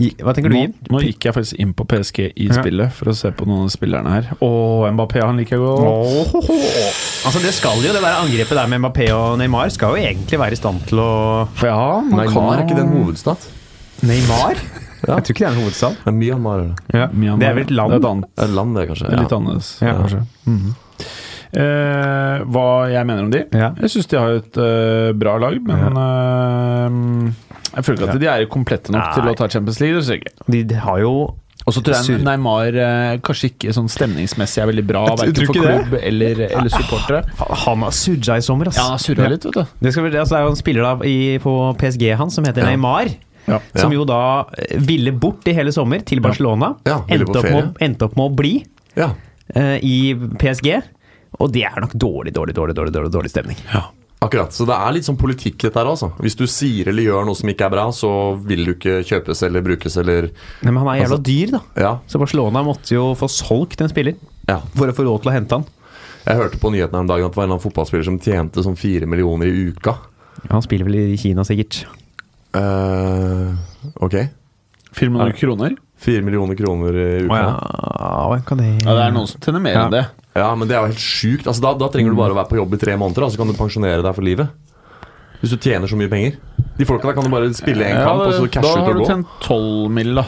Speaker 2: I- Hva tenker du,
Speaker 4: Nå,
Speaker 2: Jim?
Speaker 4: nå gikk jeg faktisk inn på PSG i
Speaker 2: Ja.
Speaker 4: spillet for å se på noen av spillerne her. Og Mbappé, han liker jeg godt.
Speaker 2: Altså, det skal jo det der angrepet der med Mbappé og Neymar skal jo egentlig være i stand til å
Speaker 4: Ja, man
Speaker 3: Neymar er ikke den hovedstad.
Speaker 2: Neymar? Jeg tror ikke det er en hovedstad.
Speaker 3: Det er Myanmar. er det.
Speaker 4: Myanmar.
Speaker 2: Det er vel et land?
Speaker 4: Det er et annet.
Speaker 3: Det er et land, det, kanskje.
Speaker 4: Det er litt
Speaker 3: Ja.
Speaker 4: annerledes.
Speaker 2: Ja.
Speaker 4: kanskje. Mhm. Eh, hva jeg mener om de?
Speaker 2: Ja.
Speaker 4: Jeg syns de har et eh, bra lag, men eh, jeg føler ikke at de er komplette nok til
Speaker 2: Nei.
Speaker 4: å ta Champions League. det synes jeg ikke.
Speaker 2: De har jo
Speaker 4: Og så tror jeg
Speaker 2: Sur-
Speaker 4: Neymar eh, kanskje ikke sånn stemningsmessig er veldig bra,
Speaker 2: Jeg tror
Speaker 4: verken for
Speaker 2: ikke det.
Speaker 4: klubb eller, eller supportere.
Speaker 2: Han har surra i sommer, ass.
Speaker 4: Ja, surra litt, vet du.
Speaker 2: Det, skal, vi- altså, det er jo en spiller da i, på PSG han som heter Neymar.
Speaker 4: Ja.
Speaker 2: Som
Speaker 3: Ja.
Speaker 2: jo da eh, ville bort i hele sommer, til Barcelona.
Speaker 3: Ja, ville på
Speaker 2: endte, opp
Speaker 3: ferie.
Speaker 2: med, å- endte opp med å bli
Speaker 3: Ja.
Speaker 2: eh, i PSG. Og det er nok dårlig, dårlig, dårlig, dårlig, dårlig, dårlig stemning.
Speaker 3: Akkurat. Så det er litt sånn politikk, dette her, altså. Hvis du sier eller gjør noe som ikke er bra, så vil du ikke kjøpes eller brukes eller
Speaker 2: Nei, men han er jævla dyr, da.
Speaker 3: Ja.
Speaker 2: Så Barcelona måtte jo få solgt en spiller
Speaker 3: ja.
Speaker 2: for å få råd til å hente han.
Speaker 3: Jeg hørte på nyhetene her om dagen at det var en eller annen fotballspiller som tjente sånn fire millioner i uka.
Speaker 2: Han spiller vel i Kina, sikkert.
Speaker 3: eh ok.
Speaker 4: 400 kroner?
Speaker 3: Fire millioner kroner i uka. ja.
Speaker 2: hva kan det
Speaker 4: Ja, det er noen som tjener mer enn det.
Speaker 3: men det er jo helt sjukt. Altså, da, da trenger du bare å være på jobb i tre måneder, da, så kan du pensjonere deg for livet. Hvis du tjener så mye penger. De folka der kan du bare spille en kamp, og så
Speaker 4: da
Speaker 3: cashe ut
Speaker 4: har
Speaker 3: og
Speaker 4: du
Speaker 3: gå.
Speaker 4: tjent 12 mill., da.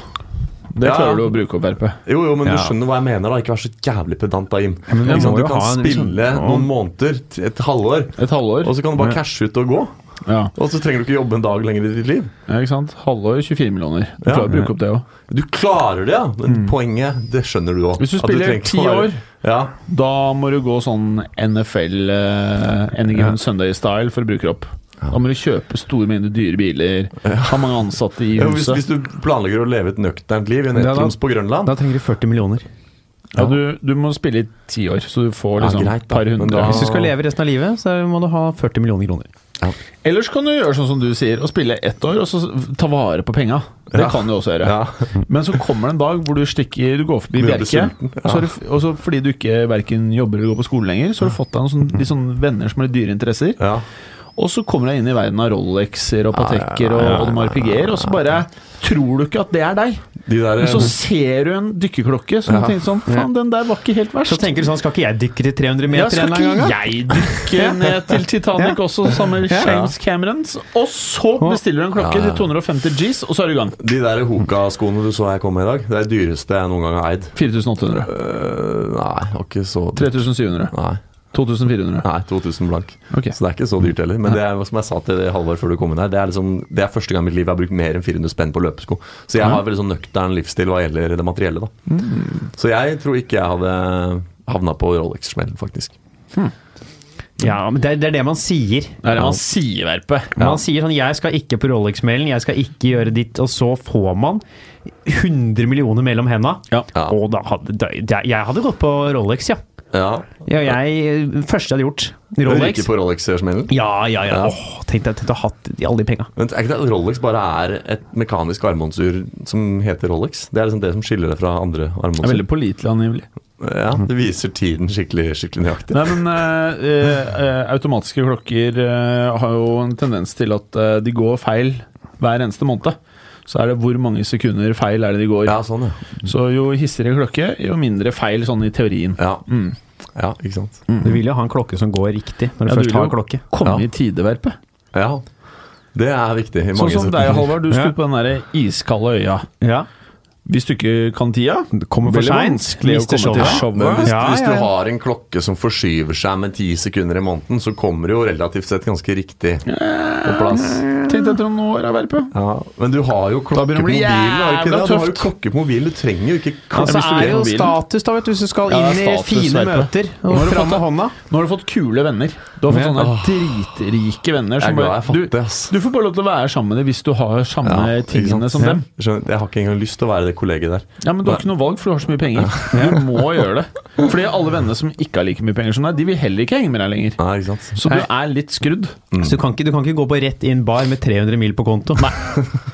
Speaker 4: Det
Speaker 3: Ja.
Speaker 4: klarer du å bruke opp, RP.
Speaker 3: Jo, jo, men du
Speaker 2: Ja.
Speaker 3: skjønner hva jeg mener. da Ikke vær så jævlig pedant, da, Jim.
Speaker 2: men du
Speaker 3: Ikke sant?
Speaker 2: må
Speaker 3: Du
Speaker 2: jo
Speaker 3: kan
Speaker 2: ha en liksom-
Speaker 3: spille noen måneder, t- et halvår,
Speaker 4: Et halvår.
Speaker 3: og så kan du bare cashe ut og gå.
Speaker 4: Ja,
Speaker 3: Og så trenger du ikke jobbe en dag lenger i ditt liv.
Speaker 4: ja ikke sant? Halvår 24 millioner. Du
Speaker 3: Ja.
Speaker 4: klarer å bruke opp det òg.
Speaker 3: Du klarer det, ja. Men poenget, det skjønner du òg.
Speaker 4: Hvis du spiller 10 år,
Speaker 3: Ja.
Speaker 4: da må du gå sånn NFL eh, Any Given Sunday-style for å bruke opp. Da må du kjøpe store mengder dyre biler, ha mange ansatte i
Speaker 3: Ja, Hvis, hvis du
Speaker 4: huset.
Speaker 3: planlegger å leve et nøkternt liv i en
Speaker 2: Ja, da-
Speaker 3: ettroms på Grønland
Speaker 2: Da trenger du 40 millioner.
Speaker 4: Ja, du, du må spille i ti år, så du får
Speaker 3: Ja,
Speaker 4: liksom
Speaker 3: greit, da,
Speaker 4: par
Speaker 3: men
Speaker 4: hundre.
Speaker 3: da-
Speaker 2: Hvis du skal leve resten av livet, så må du ha 40 millioner kroner.
Speaker 4: Ellers kan du gjøre sånn som du sier, og spille ett år, og så ta vare på penga. Det
Speaker 3: Ja.
Speaker 4: kan du også gjøre.
Speaker 3: Ja.
Speaker 4: Men så kommer det en dag hvor du stikker Du går forbi
Speaker 3: Begynner å bli
Speaker 4: Bjerke,
Speaker 3: sulten.
Speaker 4: og så har du, og så fordi du ikke verken jobber eller går på skole lenger, så har du fått deg noen sånn, litt sånn venner som har litt dyre interesser,
Speaker 3: ja.
Speaker 4: og så kommer du deg inn i verden av Rolexer og Patekker og, og de RPG-er, og så bare tror du ikke at det er deg.
Speaker 3: De der, eh,
Speaker 4: Men så ser du en dykkerklokke som du tenker sånn Faen, den der var ikke helt verst.
Speaker 2: Så tenker du sånn, skal ikke jeg dykke til 300
Speaker 4: Ja,
Speaker 2: meter
Speaker 4: skal
Speaker 2: en eller annen
Speaker 4: ikke
Speaker 2: gang? da?
Speaker 4: jeg dykke ned til Titanic også, sammen med James Cameron? Og så bestiller du en klokke til 250 Gs, og så er du i gang.
Speaker 3: de der Hoka-skoene du så jeg kom med i dag, det er det dyreste jeg noen gang har eid.
Speaker 4: 4800.
Speaker 3: Øh, nei, det var ikke så
Speaker 4: 3700.
Speaker 3: Nei,
Speaker 4: 2400.
Speaker 3: nei 2000 blank.
Speaker 4: Ok.
Speaker 3: Så det er ikke så dyrt heller. Men det er, som jeg sa til Halvard før du kom inn her, det er, liksom, det er første gang i mitt liv jeg har brukt mer enn 400 spenn på løpesko. Så jeg har veldig sånn nøktern livsstil hva gjelder det materielle, da.
Speaker 4: Mm.
Speaker 3: Så jeg tror ikke jeg hadde havna på Rolex-smellen, faktisk.
Speaker 2: Ja, men det, er- det er det man sier.
Speaker 4: Det er det man sier, Verpe.
Speaker 2: Man sier sånn 'jeg skal ikke på Rolex-mailen', 'jeg skal ikke gjøre ditt', og så får man 100 millioner mellom henda.
Speaker 4: Ja.
Speaker 3: Ja.
Speaker 2: Og da hadde da, da- Jeg hadde gått på Rolex, ja.
Speaker 3: Ja.
Speaker 2: ja jeg, det første jeg hadde gjort.
Speaker 3: Ryker
Speaker 2: Rolex.
Speaker 3: på Rolex-smellen.
Speaker 2: Ja, ja, ja.
Speaker 3: Ja.
Speaker 2: Åh, tenk deg tenk deg å ha hatt de- alle de penga.
Speaker 3: Men er ikke det at Rolex bare er et mekanisk armbåndsur som heter Rolex? Det er liksom det som skiller det fra andre
Speaker 4: Det er
Speaker 3: armbåndsur.
Speaker 4: veldig pålitelig, angivelig.
Speaker 3: Ja, det viser tiden skikkelig, skikkelig nøyaktig.
Speaker 4: Nei, men eh, eh, eh, automatiske klokker eh, har jo en tendens til at eh, de går feil hver eneste måned. Så er det hvor mange sekunder feil er det de går.
Speaker 3: Ja, sånn, ja.
Speaker 4: Så jo hissigere klokke, jo mindre feil sånn i teorien.
Speaker 3: Ja,
Speaker 4: Mm.
Speaker 3: ja ikke sant.
Speaker 2: Du vil jo ha en klokke som går riktig, når du
Speaker 4: Ja,
Speaker 2: først
Speaker 4: vil
Speaker 2: har
Speaker 4: jo
Speaker 2: klokke.
Speaker 4: Komme
Speaker 3: Ja.
Speaker 4: i tideverpet.
Speaker 3: Ja, det er viktig i
Speaker 4: Sånn
Speaker 3: mange
Speaker 4: som deg, Halvard. Du skulle
Speaker 2: Ja.
Speaker 4: på den derre iskalde øya.
Speaker 2: Ja.
Speaker 4: Hvis du ikke kan tida
Speaker 2: Kommer for
Speaker 4: veldig
Speaker 2: seint.
Speaker 4: vanskelig å komme til showet.
Speaker 3: Men hvis,
Speaker 2: Ja,
Speaker 3: hvis du
Speaker 2: ja, ja.
Speaker 3: har en klokke som forskyver seg med ti sekunder i måneden, så kommer det jo relativt sett ganske riktig på plass.
Speaker 4: Tenkte etter noen år av verpet.
Speaker 3: Ja, men du har jo klokke på
Speaker 4: begynner
Speaker 3: mobilen.
Speaker 4: det å bli
Speaker 3: Har du, ikke det?
Speaker 4: jævla
Speaker 3: du har jo
Speaker 4: tøft.
Speaker 3: klokke på mobilen, du trenger jo ikke
Speaker 2: Altså,
Speaker 4: hvis
Speaker 2: er
Speaker 4: du ber
Speaker 2: det jo
Speaker 4: mobilen.
Speaker 2: status, da, vet du, hvis du skal
Speaker 4: Ja,
Speaker 2: inn
Speaker 4: det er
Speaker 2: i
Speaker 4: status,
Speaker 2: fine
Speaker 4: vet du.
Speaker 2: møter
Speaker 4: Nå har
Speaker 2: og
Speaker 4: du
Speaker 2: fram
Speaker 4: fått
Speaker 2: med
Speaker 4: det.
Speaker 2: hånda.
Speaker 4: Nå har du fått kule venner. Du har fått
Speaker 2: Ja.
Speaker 4: sånne dritrike venner.
Speaker 3: Jeg er
Speaker 4: Som
Speaker 3: glad jeg
Speaker 4: bare,
Speaker 3: fant
Speaker 4: du,
Speaker 3: det, ass.
Speaker 4: du får bare lov til å være sammen med dem hvis du har samme
Speaker 3: Ja, ikke
Speaker 4: tingene
Speaker 3: sant?
Speaker 4: som dem.
Speaker 3: Jeg Skjønner, jeg har ikke engang lyst til å være det kollegiet der.
Speaker 4: Ja, men Du har ikke noe valg, for du har så mye penger. Du må gjøre det. Fordi alle venner som ikke har like mye penger som deg, de vil heller ikke henge med deg lenger.
Speaker 3: Nei, ikke sant?
Speaker 4: Så du er litt skrudd.
Speaker 2: Så du kan, ikke, du kan ikke gå på rett inn bar med 300 mil på konto. Nei,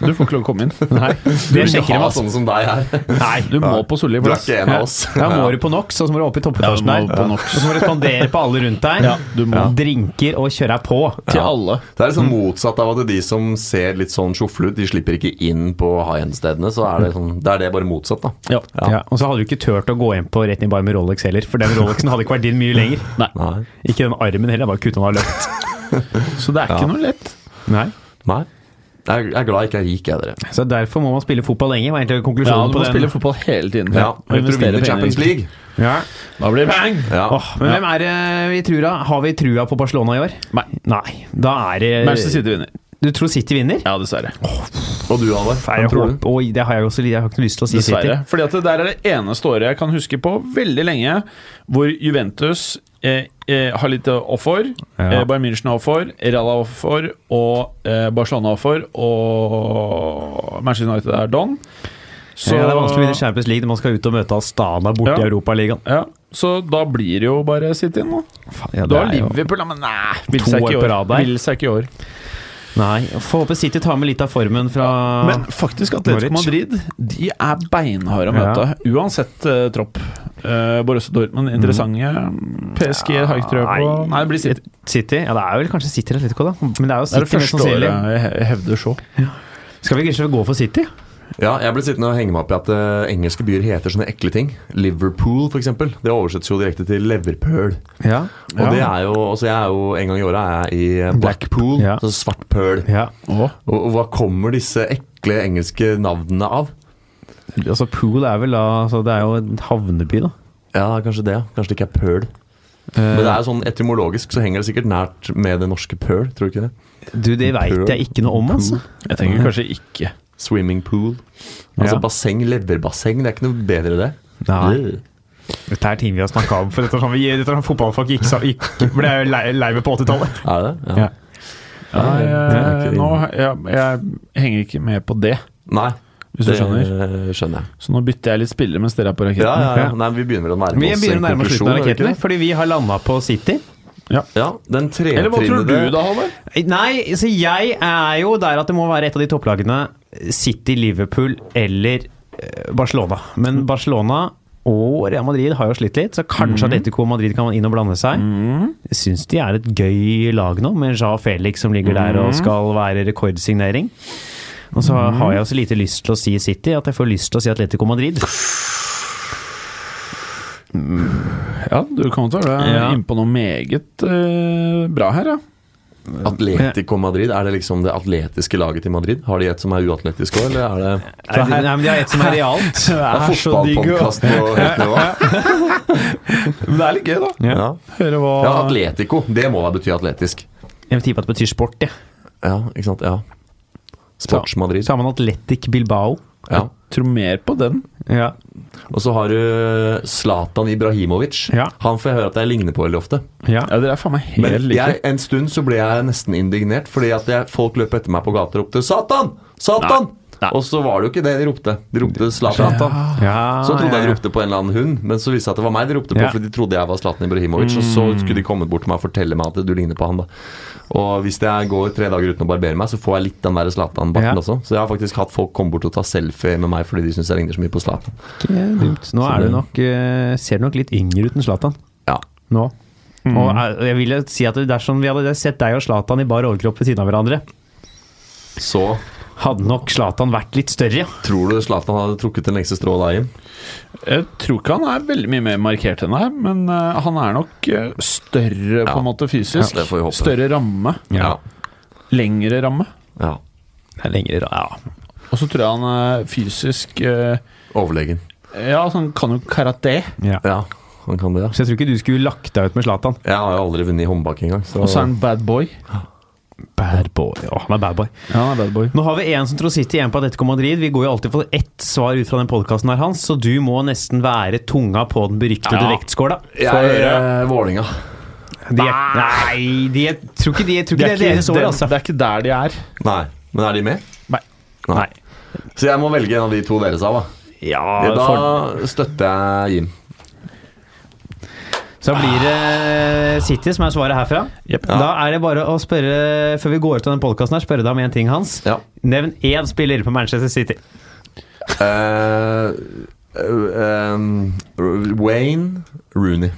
Speaker 4: Du får ikke lov å komme inn.
Speaker 3: Du
Speaker 2: det
Speaker 3: vil
Speaker 2: sjekker
Speaker 3: ikke
Speaker 2: de
Speaker 3: ha
Speaker 2: altså.
Speaker 3: sånne som deg her.
Speaker 4: Nei, du må på Solli
Speaker 3: Du er
Speaker 4: plass.
Speaker 3: ikke en av oss.
Speaker 2: Da må du på NOx, og så må du opp i toppetasjen
Speaker 4: Ja, du altså. må
Speaker 2: der.
Speaker 4: på
Speaker 2: Og
Speaker 4: Nox.
Speaker 2: så må du spandere på alle rundt deg.
Speaker 4: Ja, du må.
Speaker 2: Drinker og kjøre deg på.
Speaker 4: Til alle.
Speaker 3: Det er liksom motsatt av at de som ser litt sånn sjofle ut, de slipper ikke inn på high end-stedene. Så er det, sånn, det er det bare motsatt, da.
Speaker 4: Ja.
Speaker 2: Ja, og så hadde du ikke turt å gå inn på rett inn bar med Rolex heller, for den Rolexen hadde ikke vært din mye lenger.
Speaker 4: Nei.
Speaker 3: Nei.
Speaker 2: Ikke den armen heller, bare kutte den av løpt.
Speaker 4: Så det er ikke noe lett.
Speaker 2: Nei.
Speaker 3: Nei. Jeg jeg er glad jeg ikke er rik, jeg, dere.
Speaker 2: Så derfor må man spille fotball lenge, var egentlig
Speaker 4: Ja,
Speaker 2: konklusjonen
Speaker 4: du må
Speaker 2: på
Speaker 4: spille
Speaker 2: den.
Speaker 4: fotball hele tiden.
Speaker 3: Ja,
Speaker 4: Og
Speaker 3: Etter å
Speaker 4: investere
Speaker 3: vinne
Speaker 4: penger.
Speaker 3: Champions League.
Speaker 2: Ja.
Speaker 4: Da blir det bang!
Speaker 3: Ja.
Speaker 2: Åh, men hvem er det vi tror av? Har vi trua på Barcelona i år?
Speaker 4: Nei.
Speaker 2: Nei. Da er det
Speaker 4: Manchester City vinner.
Speaker 2: Du tror City vinner?
Speaker 4: Ja, dessverre.
Speaker 3: Og du, Halvard?
Speaker 2: Nei,
Speaker 3: Hvem
Speaker 2: jeg
Speaker 3: tror du?
Speaker 2: håper, oi, det har jeg også jeg har ikke lyst til å si
Speaker 4: Dessverre. Fordi at det der er det eneste året jeg kan huske på veldig lenge hvor Juventus eh, eh, har litt offer.
Speaker 2: Ja.
Speaker 4: Eh, Bayern München har offer, Real har offer, og eh, Barcelona har offer, og Manchester United er don.
Speaker 2: City. Ja, det er vanskelig å vinne Champions League når man skal ut og møte Astana borte
Speaker 4: Ja.
Speaker 2: i Europaligaen.
Speaker 4: ja, så da blir det jo bare City nå.
Speaker 2: Ja,
Speaker 4: Du
Speaker 2: det
Speaker 4: har
Speaker 2: er jo-
Speaker 4: Liverpool, da, men nei Vil
Speaker 2: To
Speaker 4: seg ikke i
Speaker 2: år på
Speaker 4: år.
Speaker 2: rad der.
Speaker 4: Vil seg ikke i år.
Speaker 2: Nei, Får håpe City tar med litt av formen fra
Speaker 4: Men faktisk Atletico
Speaker 2: Norwich.
Speaker 4: Madrid De er beinharde å møte, uansett eh, tropp. Uh, Borussia Dortmund, interessante. PSG har jeg ikke trua på.
Speaker 2: Nei.
Speaker 4: Nei, det blir City.
Speaker 2: City? Ja, det er vel kanskje City eller Atletico, da. Men det er jo
Speaker 4: Det er
Speaker 2: City
Speaker 4: det
Speaker 2: mest
Speaker 4: første året
Speaker 2: sannsynlig.
Speaker 4: jeg he- hevder så.
Speaker 2: Skal vi kanskje gå for City?
Speaker 3: Ja, jeg ble sittende og henge meg opp i at eh, engelske byer heter sånne ekle ting. Liverpool, f.eks. Det oversettes jo direkte til Leverpøl.
Speaker 2: Ja.
Speaker 3: Og det er jo Altså, jeg er jo en gang i året er jeg i eh, Blackpool,
Speaker 2: Ja.
Speaker 3: så svart pøl.
Speaker 2: ja.
Speaker 3: Og, og hva kommer disse ekle engelske navnene av?
Speaker 2: Altså, Pool er vel da altså, Det er jo en havneby, da.
Speaker 3: Ja, kanskje det. ja. Kanskje det ikke er pøl. Men det er jo sånn etymologisk så henger det sikkert nært med det norske pøl, tror du ikke det?
Speaker 2: Du, det veit
Speaker 3: Pool.
Speaker 2: jeg ikke noe om, altså.
Speaker 4: Jeg tenker kanskje ikke.
Speaker 3: Swimming pool. Altså
Speaker 2: Ja.
Speaker 3: basseng, leverbasseng. Det er ikke noe bedre det.
Speaker 2: Nei.
Speaker 3: Øh.
Speaker 2: Dette er ting vi har snakka om, for dette er sånn vi- dette er sånn fotballfolk gikk, sa- gikk, ble jo lei, lei med på 80-tallet.
Speaker 3: Er det det?
Speaker 2: Ja.
Speaker 4: Nei,
Speaker 3: det er
Speaker 4: jeg,
Speaker 3: ikke
Speaker 4: nå, jeg, jeg henger ikke med på det,
Speaker 3: Nei.
Speaker 4: hvis du
Speaker 3: det
Speaker 4: skjønner.
Speaker 3: skjønner jeg.
Speaker 4: Så nå bytter jeg litt spillere mens dere er på
Speaker 3: Ja,
Speaker 4: raketten.
Speaker 3: ja, ja. Nei, vi begynner vel å nærme
Speaker 2: Vi
Speaker 3: oss
Speaker 2: begynner å nærme oss slutten av
Speaker 3: gjør vi ikke
Speaker 2: rakettene,
Speaker 3: det?
Speaker 2: fordi vi har landa på City.
Speaker 3: Ja, den
Speaker 4: Eller hva tror du
Speaker 3: tretrinnede
Speaker 4: da, Halvor?
Speaker 2: Nei, så jeg er jo der at det må være et av de topplagene City, Liverpool eller eh, Barcelona. Men
Speaker 3: Mm.
Speaker 2: Barcelona og Real Madrid har jo slitt litt, så
Speaker 3: Mm.
Speaker 2: kanskje Atletico Madrid kan inn og blande seg. Jeg syns de er et gøy lag nå, med Ja Felix som ligger der
Speaker 3: Mm.
Speaker 2: og skal være rekordsignering. Og så har jeg også lite lyst til å si City, at jeg får lyst til å si Atletico Madrid.
Speaker 4: Ja, du kommer til å være
Speaker 2: Ja.
Speaker 4: inne på noe meget eh, bra her, ja.
Speaker 3: Atletico Madrid, er det liksom det atletiske laget til Madrid? Har de et som er uatletisk òg, eller er det
Speaker 2: Nei, det- nei, men de har et som er realt.
Speaker 3: Det er fotballpodkast på høyt nivå.
Speaker 4: Men det er litt gøy, da.
Speaker 3: Ja.
Speaker 4: Høre hva
Speaker 3: ja, Atletico. Det må da bety atletisk.
Speaker 2: Jeg vil tippe at det betyr sport, jeg.
Speaker 3: Ja, ikke sant. Ja. Sports Madrid.
Speaker 2: Så har man Atletic Bilbao.
Speaker 3: Ja.
Speaker 4: tror mer på den.
Speaker 2: Ja.
Speaker 3: Og så har du Zlatan Ibrahimovic.
Speaker 2: Ja.
Speaker 3: Han får jeg høre at jeg ligner på veldig ofte.
Speaker 2: Ja.
Speaker 4: Ja, Dere er faen meg helt
Speaker 3: Men
Speaker 4: like.
Speaker 3: jeg, en stund så ble jeg nesten indignert, fordi at jeg, folk løp etter meg på gata og ropte 'Satan! Satan!'
Speaker 4: Nei.
Speaker 3: Og så var det jo ikke det de ropte. De ropte 'Zlatan'.
Speaker 2: Ja,
Speaker 3: Så trodde
Speaker 2: Ah, ja,
Speaker 3: jeg de
Speaker 2: ja.
Speaker 3: ropte på en eller annen hund, men så viste det seg at det var meg de ropte på,
Speaker 2: Ja.
Speaker 3: for de trodde jeg var Zlatan Ibrahimovic. Og så skulle de komme bort til meg og fortelle meg at du ligner på han, da. Og hvis jeg går tre dager uten å barbere meg, så får jeg litt den der
Speaker 2: Ja.
Speaker 3: Zlatan-barten også. Så jeg har faktisk hatt folk komme bort og ta selfie med meg fordi de syns jeg ligner så mye på Zlatan.
Speaker 2: Ikke dumt. Nå er du nok, eh, ser du nok litt yngre ut enn Zlatan.
Speaker 3: Ja.
Speaker 2: Nå. Og eh, jeg ville si at dersom vi hadde sett deg og Zlatan i bar overkropp ved siden av hverandre,
Speaker 3: Så
Speaker 2: hadde nok Zlatan vært litt større.
Speaker 3: tror du Zlatan hadde trukket den lengste strået da, Jim?
Speaker 4: Jeg tror ikke han er veldig mye mer markert enn deg, men eh, han er nok eh, større på
Speaker 3: Ja.
Speaker 4: en måte fysisk.
Speaker 3: Ja, det får vi håpe.
Speaker 4: større ramme. Lengre ramme.
Speaker 3: ja.
Speaker 2: Det er lengre, da. Ja.
Speaker 4: Og så tror jeg han er fysisk eh,
Speaker 3: Overlegen.
Speaker 4: Ja, altså, han kan jo karate.
Speaker 3: Ja, han kan det, ja.
Speaker 2: Så jeg tror ikke du skulle lagt deg ut med Zlatan.
Speaker 3: Jeg har jo aldri vunnet i håndbak engang. Så.
Speaker 4: Og så er han bad boy.
Speaker 2: Bad boy. Å, han er bad boy.
Speaker 4: Ja, han er bad boy.
Speaker 2: Nå har vi en som tror City, en på Atletico Madrid. Vi går jo alltid for ett svar ut fra den podkasten her, Hans, så du må nesten være tunga på den beryktede
Speaker 4: Ja.
Speaker 2: vektskåla.
Speaker 3: jeg er Vålinga.
Speaker 2: De er, nei, de er, tror ikke, de, tror
Speaker 4: Det
Speaker 2: ikke
Speaker 4: er,
Speaker 2: det er deres
Speaker 4: ikke,
Speaker 2: år,
Speaker 4: det,
Speaker 2: altså.
Speaker 4: det er ikke der de er.
Speaker 3: Nei. Men er de med?
Speaker 4: Nei.
Speaker 3: Nei. Så jeg må velge en av de to dere sa, da.
Speaker 2: Ja,
Speaker 3: da
Speaker 2: for-
Speaker 3: støtter jeg Jim.
Speaker 2: Så blir det City som er svaret herfra.
Speaker 4: Jep.
Speaker 2: Da er det bare å spørre, før vi går ut av den podkasten her, spørre deg om én ting, Hans.
Speaker 3: Ja.
Speaker 2: Nevn én spiller på Manchester City.
Speaker 3: Eh, eh, um, R- Wayne Rooney.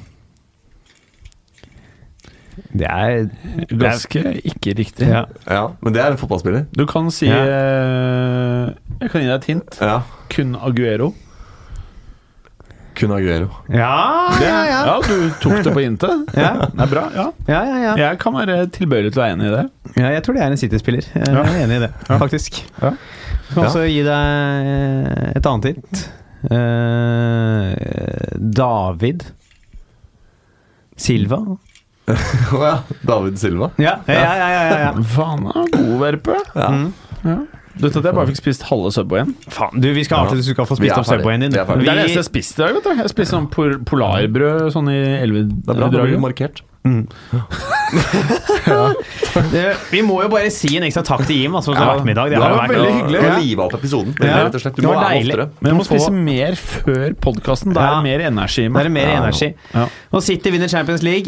Speaker 2: Det er
Speaker 4: Ganske ikke riktig.
Speaker 2: ja.
Speaker 3: Ja, men det er en fotballspiller.
Speaker 4: Du kan si
Speaker 2: Ja.
Speaker 4: eh, Jeg kan gi deg et hint.
Speaker 3: Ja.
Speaker 4: Kun Aguero.
Speaker 3: Kun Aguero.
Speaker 2: Ja, ja, ja.
Speaker 4: Ja, du tok det på hintet.
Speaker 2: Ja.
Speaker 4: Det er bra. ja
Speaker 2: Ja, ja, ja.
Speaker 4: Jeg kan være tilbøyelig til å være enig i det.
Speaker 2: ja, jeg tror det er en City-spiller. Jeg er enig i det, faktisk.
Speaker 4: Ja.
Speaker 2: Jeg kan også gi deg et annet hint. Eh, David Silva.
Speaker 3: Å ja. David Silva.
Speaker 2: Ja, ja, ja. ja, ja, ja.
Speaker 4: Faen, da, god verpe.
Speaker 3: Ja.
Speaker 2: Mm.
Speaker 4: Du vet at jeg bare fikk spist halve Subwayen?
Speaker 2: Faen, du, vi skal avslutte, så du skal få
Speaker 3: Vi
Speaker 2: spist
Speaker 3: er
Speaker 2: opp
Speaker 3: ferdig.
Speaker 2: Subwayen din.
Speaker 3: Vi er ferdig.
Speaker 4: Det er det eneste
Speaker 2: Vi-
Speaker 4: jeg spiste i dag. vet du. Jeg spiste sånn por- polarbrød sånn i
Speaker 3: Det er bra. Da blir du
Speaker 4: elvedraget.
Speaker 3: markert.
Speaker 2: Det- Vi må jo bare si en ekstra takk til Jim, altså, som har vært med i dag. Det
Speaker 3: Du
Speaker 2: har jo vært
Speaker 3: har-
Speaker 4: veldig
Speaker 3: Du
Speaker 4: hyggelig.
Speaker 3: har livet opp episoden.
Speaker 2: Ja.
Speaker 3: Rett og slett. Du
Speaker 2: Det
Speaker 3: må
Speaker 2: var
Speaker 3: være med
Speaker 2: deilig.
Speaker 3: oftere.
Speaker 4: Men jeg må
Speaker 2: Du må
Speaker 4: spise
Speaker 2: få-
Speaker 4: mer før podkasten. Da
Speaker 2: Ja.
Speaker 4: er det mer energi i
Speaker 2: Da er det
Speaker 4: meg.
Speaker 2: mer
Speaker 3: Ja, ja.
Speaker 2: energi.
Speaker 4: Ja.
Speaker 2: Nå sitter vinner Champions League.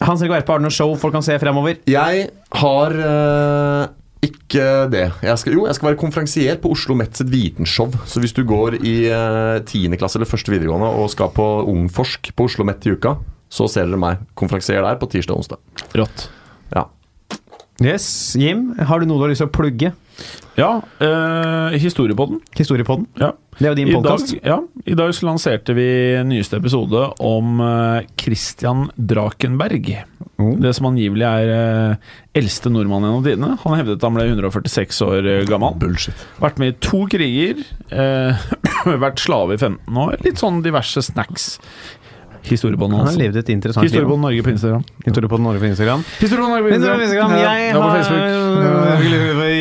Speaker 2: Hans Erik Verpe har noe show folk kan se fremover.
Speaker 3: Jeg har eh, ikke det. Jeg skal, jo, jeg skal være konferansier på Oslo Met sitt vitenshow. Så hvis du går i eh, 10. klasse eller første videregående og skal på Ungforsk på Oslo Met i uka, så ser dere meg. Konferansier der på tirsdag og onsdag.
Speaker 4: Rått.
Speaker 3: Ja.
Speaker 2: Yes, Jim, har du noe du har lyst til å plugge?
Speaker 4: Ja, eh, historiepodden.
Speaker 2: Historiepodden.
Speaker 4: Ja.
Speaker 2: Det er jo din
Speaker 4: I dag,
Speaker 2: podkast.
Speaker 4: ja, I dag så lanserte vi nyeste episode om eh, Christian Drakenberg.
Speaker 2: Oh.
Speaker 4: Det som angivelig er eh, eldste nordmann gjennom tidene. Han hevdet han ble 146 år eh, gammel.
Speaker 3: Bullshit.
Speaker 4: Vært med i to kriger. Eh, vært slave i 15 år. Litt sånn diverse snacks. Historiebånd
Speaker 2: Han har
Speaker 4: hans.
Speaker 2: levd et interessant liv.
Speaker 4: Historiebånd Norge på Instagram.
Speaker 2: Historiepodden Norge på Instagram.
Speaker 4: Historiebånd Norge på Instagram.
Speaker 2: Instagram.
Speaker 4: Ja,
Speaker 2: Jeg
Speaker 4: ja, på
Speaker 2: har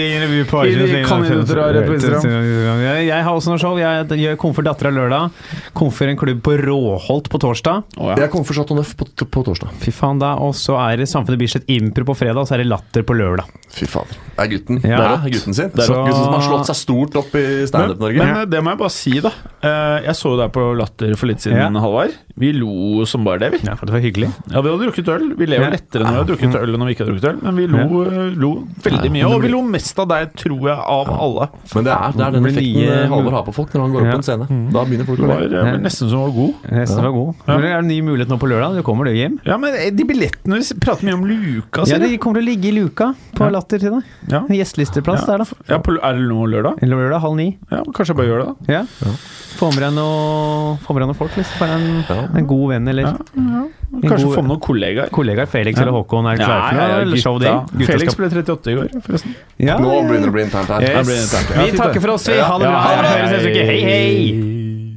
Speaker 4: Facebook. Kandidater har rett på
Speaker 2: Jeg jeg har også noe show. Jeg gjør Komfort Dattera lørdag. Komfort en klubb på Råholt på torsdag.
Speaker 4: Å, ja.
Speaker 3: Jeg kommer for Chateau Neuf på, på torsdag.
Speaker 2: Fy faen da, Og så er det Samfunnet Bislett Impro på fredag, og så er det Latter på lørdag.
Speaker 3: Fy fader. Det er gutten.
Speaker 2: Ja.
Speaker 3: Det er rått. gutten sin.
Speaker 4: Det er rått.
Speaker 3: Gutten som har slått seg stort opp i standup-Norge.
Speaker 4: Men eh, det må jeg bare si, da. Eh, Jeg så jo deg på Latter for litt siden,
Speaker 2: Ja.
Speaker 4: Halvard. Vi lo som bare det, vi.
Speaker 2: Ja, for det var hyggelig.
Speaker 4: Ja, vi hadde drukket øl. Vi ler jo
Speaker 2: Ja.
Speaker 4: lettere når vi har drukket øl enn når vi ikke har drukket øl, men vi lo, eh, lo veldig mye. Og vi lo mest av deg, tror jeg, av alle.
Speaker 3: Men det er, det er den
Speaker 2: Blir
Speaker 3: effekten eh,
Speaker 2: nye-
Speaker 3: Halvor har på folk når han går opp
Speaker 2: Ja.
Speaker 3: på en scene. Da begynner folk
Speaker 4: Du
Speaker 3: å
Speaker 4: var
Speaker 3: le.
Speaker 4: eh, var nesten som du var god.
Speaker 2: Resten var god.
Speaker 4: Ja.
Speaker 2: Men Eh, Det er en ny mulighet nå på lørdag. Du kommer du, Jim?
Speaker 4: Ja, men eh, de billettene Vi prater mye om luka,
Speaker 2: Ja,
Speaker 4: sier
Speaker 2: de
Speaker 4: du.
Speaker 2: kommer til å ligge i luka på
Speaker 4: Ja.
Speaker 2: Latter til deg.
Speaker 4: Ja.
Speaker 2: Gjestelisteplass der,
Speaker 4: Ja.
Speaker 2: da.
Speaker 4: Ja, på, er det nå lørdag?
Speaker 2: Lørdag halv ni.
Speaker 4: Ja, men kanskje jeg bare gjør det, da.
Speaker 2: Ja. Få med deg noe få med deg noe folk, liksom. Bare en,
Speaker 3: Ja.
Speaker 2: en god venn eller
Speaker 4: Ja. Kanskje
Speaker 2: god-
Speaker 4: få med noen kollegaer.
Speaker 2: kollegaer. Felix
Speaker 4: Ja.
Speaker 2: eller Håkon er klare for noe? eller show de? Gutta
Speaker 4: Felix
Speaker 2: skal-
Speaker 4: ble 38 i går, forresten.
Speaker 2: Ja,
Speaker 3: Nå
Speaker 2: ja, ja.
Speaker 3: begynner det å bli internt her.
Speaker 4: Yes.
Speaker 2: Vi takker for oss, vi. Ha det bra.
Speaker 4: Ja, ja, ja, ja.
Speaker 2: Høres neste uke. Hei, hei.